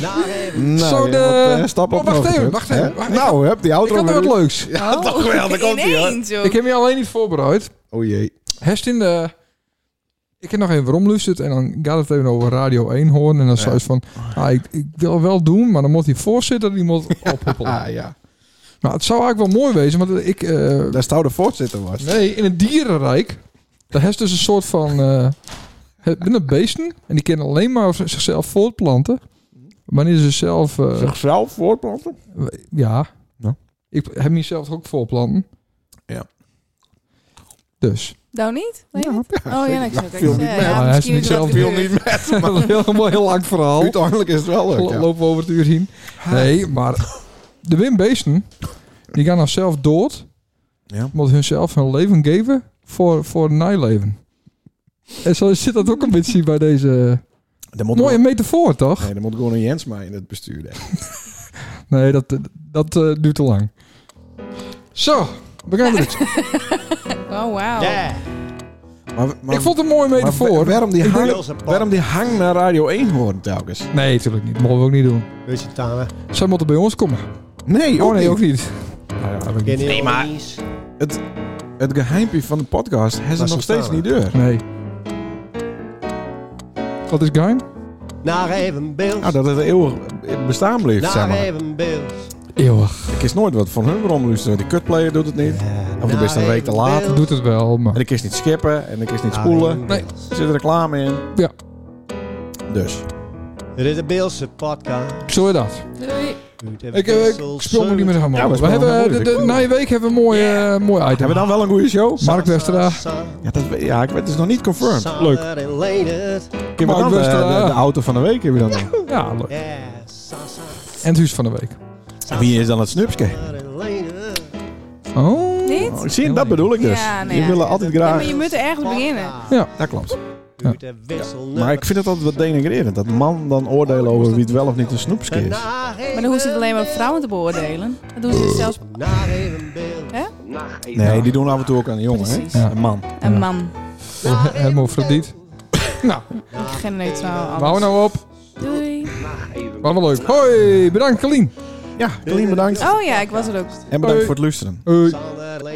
Nou, Zo je de- wordt, eh, stap Oh, op wacht nog even, terug, wacht hè? even, wacht Nou, heb die Ik auto had nog weer. wat leuks. Ja, toch wel, daar komt hij. hoor. Oh. Ineens ook. Ik heb je alleen niet voorbereid. O Oh jee. Hestin, eh ik heb nog even waarom luistert en dan gaat het even over Radio 1 horen. En dan zei ze van, ah, ik, ik wil wel doen, maar dan moet die voorzitter, die moet ophoppelen. Ah ja. Nou, het zou eigenlijk wel mooi wezen, want ik... eh, Daar zou de voorzitter was. Nee, in het dierenrijk. Daar heeft dus een soort van. eh het binnen beesten. En die kunnen alleen maar z- zichzelf voortplanten. Wanneer ze zelf. eh, Zichzelf voortplanten? ja. Nou. Ik heb mezelf ook voortplanten. Ja. Dus. Nou niet? Nee, niet? oh ja, ik zou het viel zeggen. niet Ja, mee. Ja, hij is misschien niet is er wat zelf- Viel gebeurd. niet met. Dat is een heel, heel lang verhaal. Uiteindelijk is het wel leuk. ja. Lopen we over het uur heen. Nee, maar. De wimbeesten. Die gaan nou zelf dood. Ja. Omdat hun zelf hun leven geven. Voor, voor nijleven. En zo zit dat ook een beetje bij deze. Er moet Mooie gewoon- metafoor, toch? Nee, er moet gewoon een Jens maar in het bestuur. denk ik. Nee, dat, eh, dat eh, duurt te lang. Zo, we gaan eruit. Oh, wauw. Ja, Maar, maar, Ik vond het een mooie maar wa- metafoor. Waarom die, Ik hang, denk- Bills en Paul. waarom die hang naar Radio 1 horen telkens? Nee, natuurlijk niet. Mogen we ook niet doen. Weet je, Tana? Zij moeten bij ons komen. Nee, Oh ook nee, niet. ook niet. Nou ja, weet ik niet. Nee, maar... Het, het geheimpje van de podcast hebben ze Was nog het steeds daar? niet deur. Nee. Wat is geheim? Naar even Bills. Nou, dat het eeuwig bestaan Nou, blijft, zeg Naar maar. even Bills. Eeuwig. Ik is nooit wat van hun romlusten. Die cutplayer doet het niet. Of nou, de Naar beste een week even te laat. Bills. Doet het wel, En maar... ik is niet skippen. En ik is niet Naar spoelen. even Nou, Nee. Bills. Er zit reclame in. Ja, Dus. Dit is de Beelse podcast. zo is dat. Doei. Uit de Ik, eh, ik Wissel speel me niet meer Zuid. helemaal. Ja, we we spelen hebben, de, moeilijk. de- na je week hebben we een mooi, eh, mooi item. Hebben we dan wel een goede show? Mark Westra. Sa- Ja, dat, weet- ja ik, weet- het is nog niet confirmed. Sa- Leuk. Sander en Leendert. Kim eh, Mark dan eh, Westra. de, de auto van de week hebben we dan. nog. Ja, leuk. Ja, Sa- Sa- En het huis van de week. Sa- Wie is dan het snupske? Sander en Leendert. Oh. Niet? Oh, zie je, dat bedoel ik dus. Ja, nou Die ja. willen altijd Ja, graag... maar je moet ergens er beginnen. Dat klopt. Buurt en eh, wissel Maar ik vind het altijd wat denigrerend. Dat man dan oordelen over wie het wel of niet een snoepske Nou, is. Maar dan hoeven ze het alleen maar vrouwen te beoordelen. Dan doen ze het zelfs Naar evenbeeld. Nacht even. Nee, die doen af en toe ook aan de jongen, hè? Precies. Ja. Een man. een man. Hermofrodiet. nou, Genderneutraal. alles. hou nou op. Doei. Wat wel leuk. Hoi, bedankt Kalien. Ja, Colleen bedankt. Oh ja, ik was er ook. En bedankt voor het luisteren. Hoi. Sander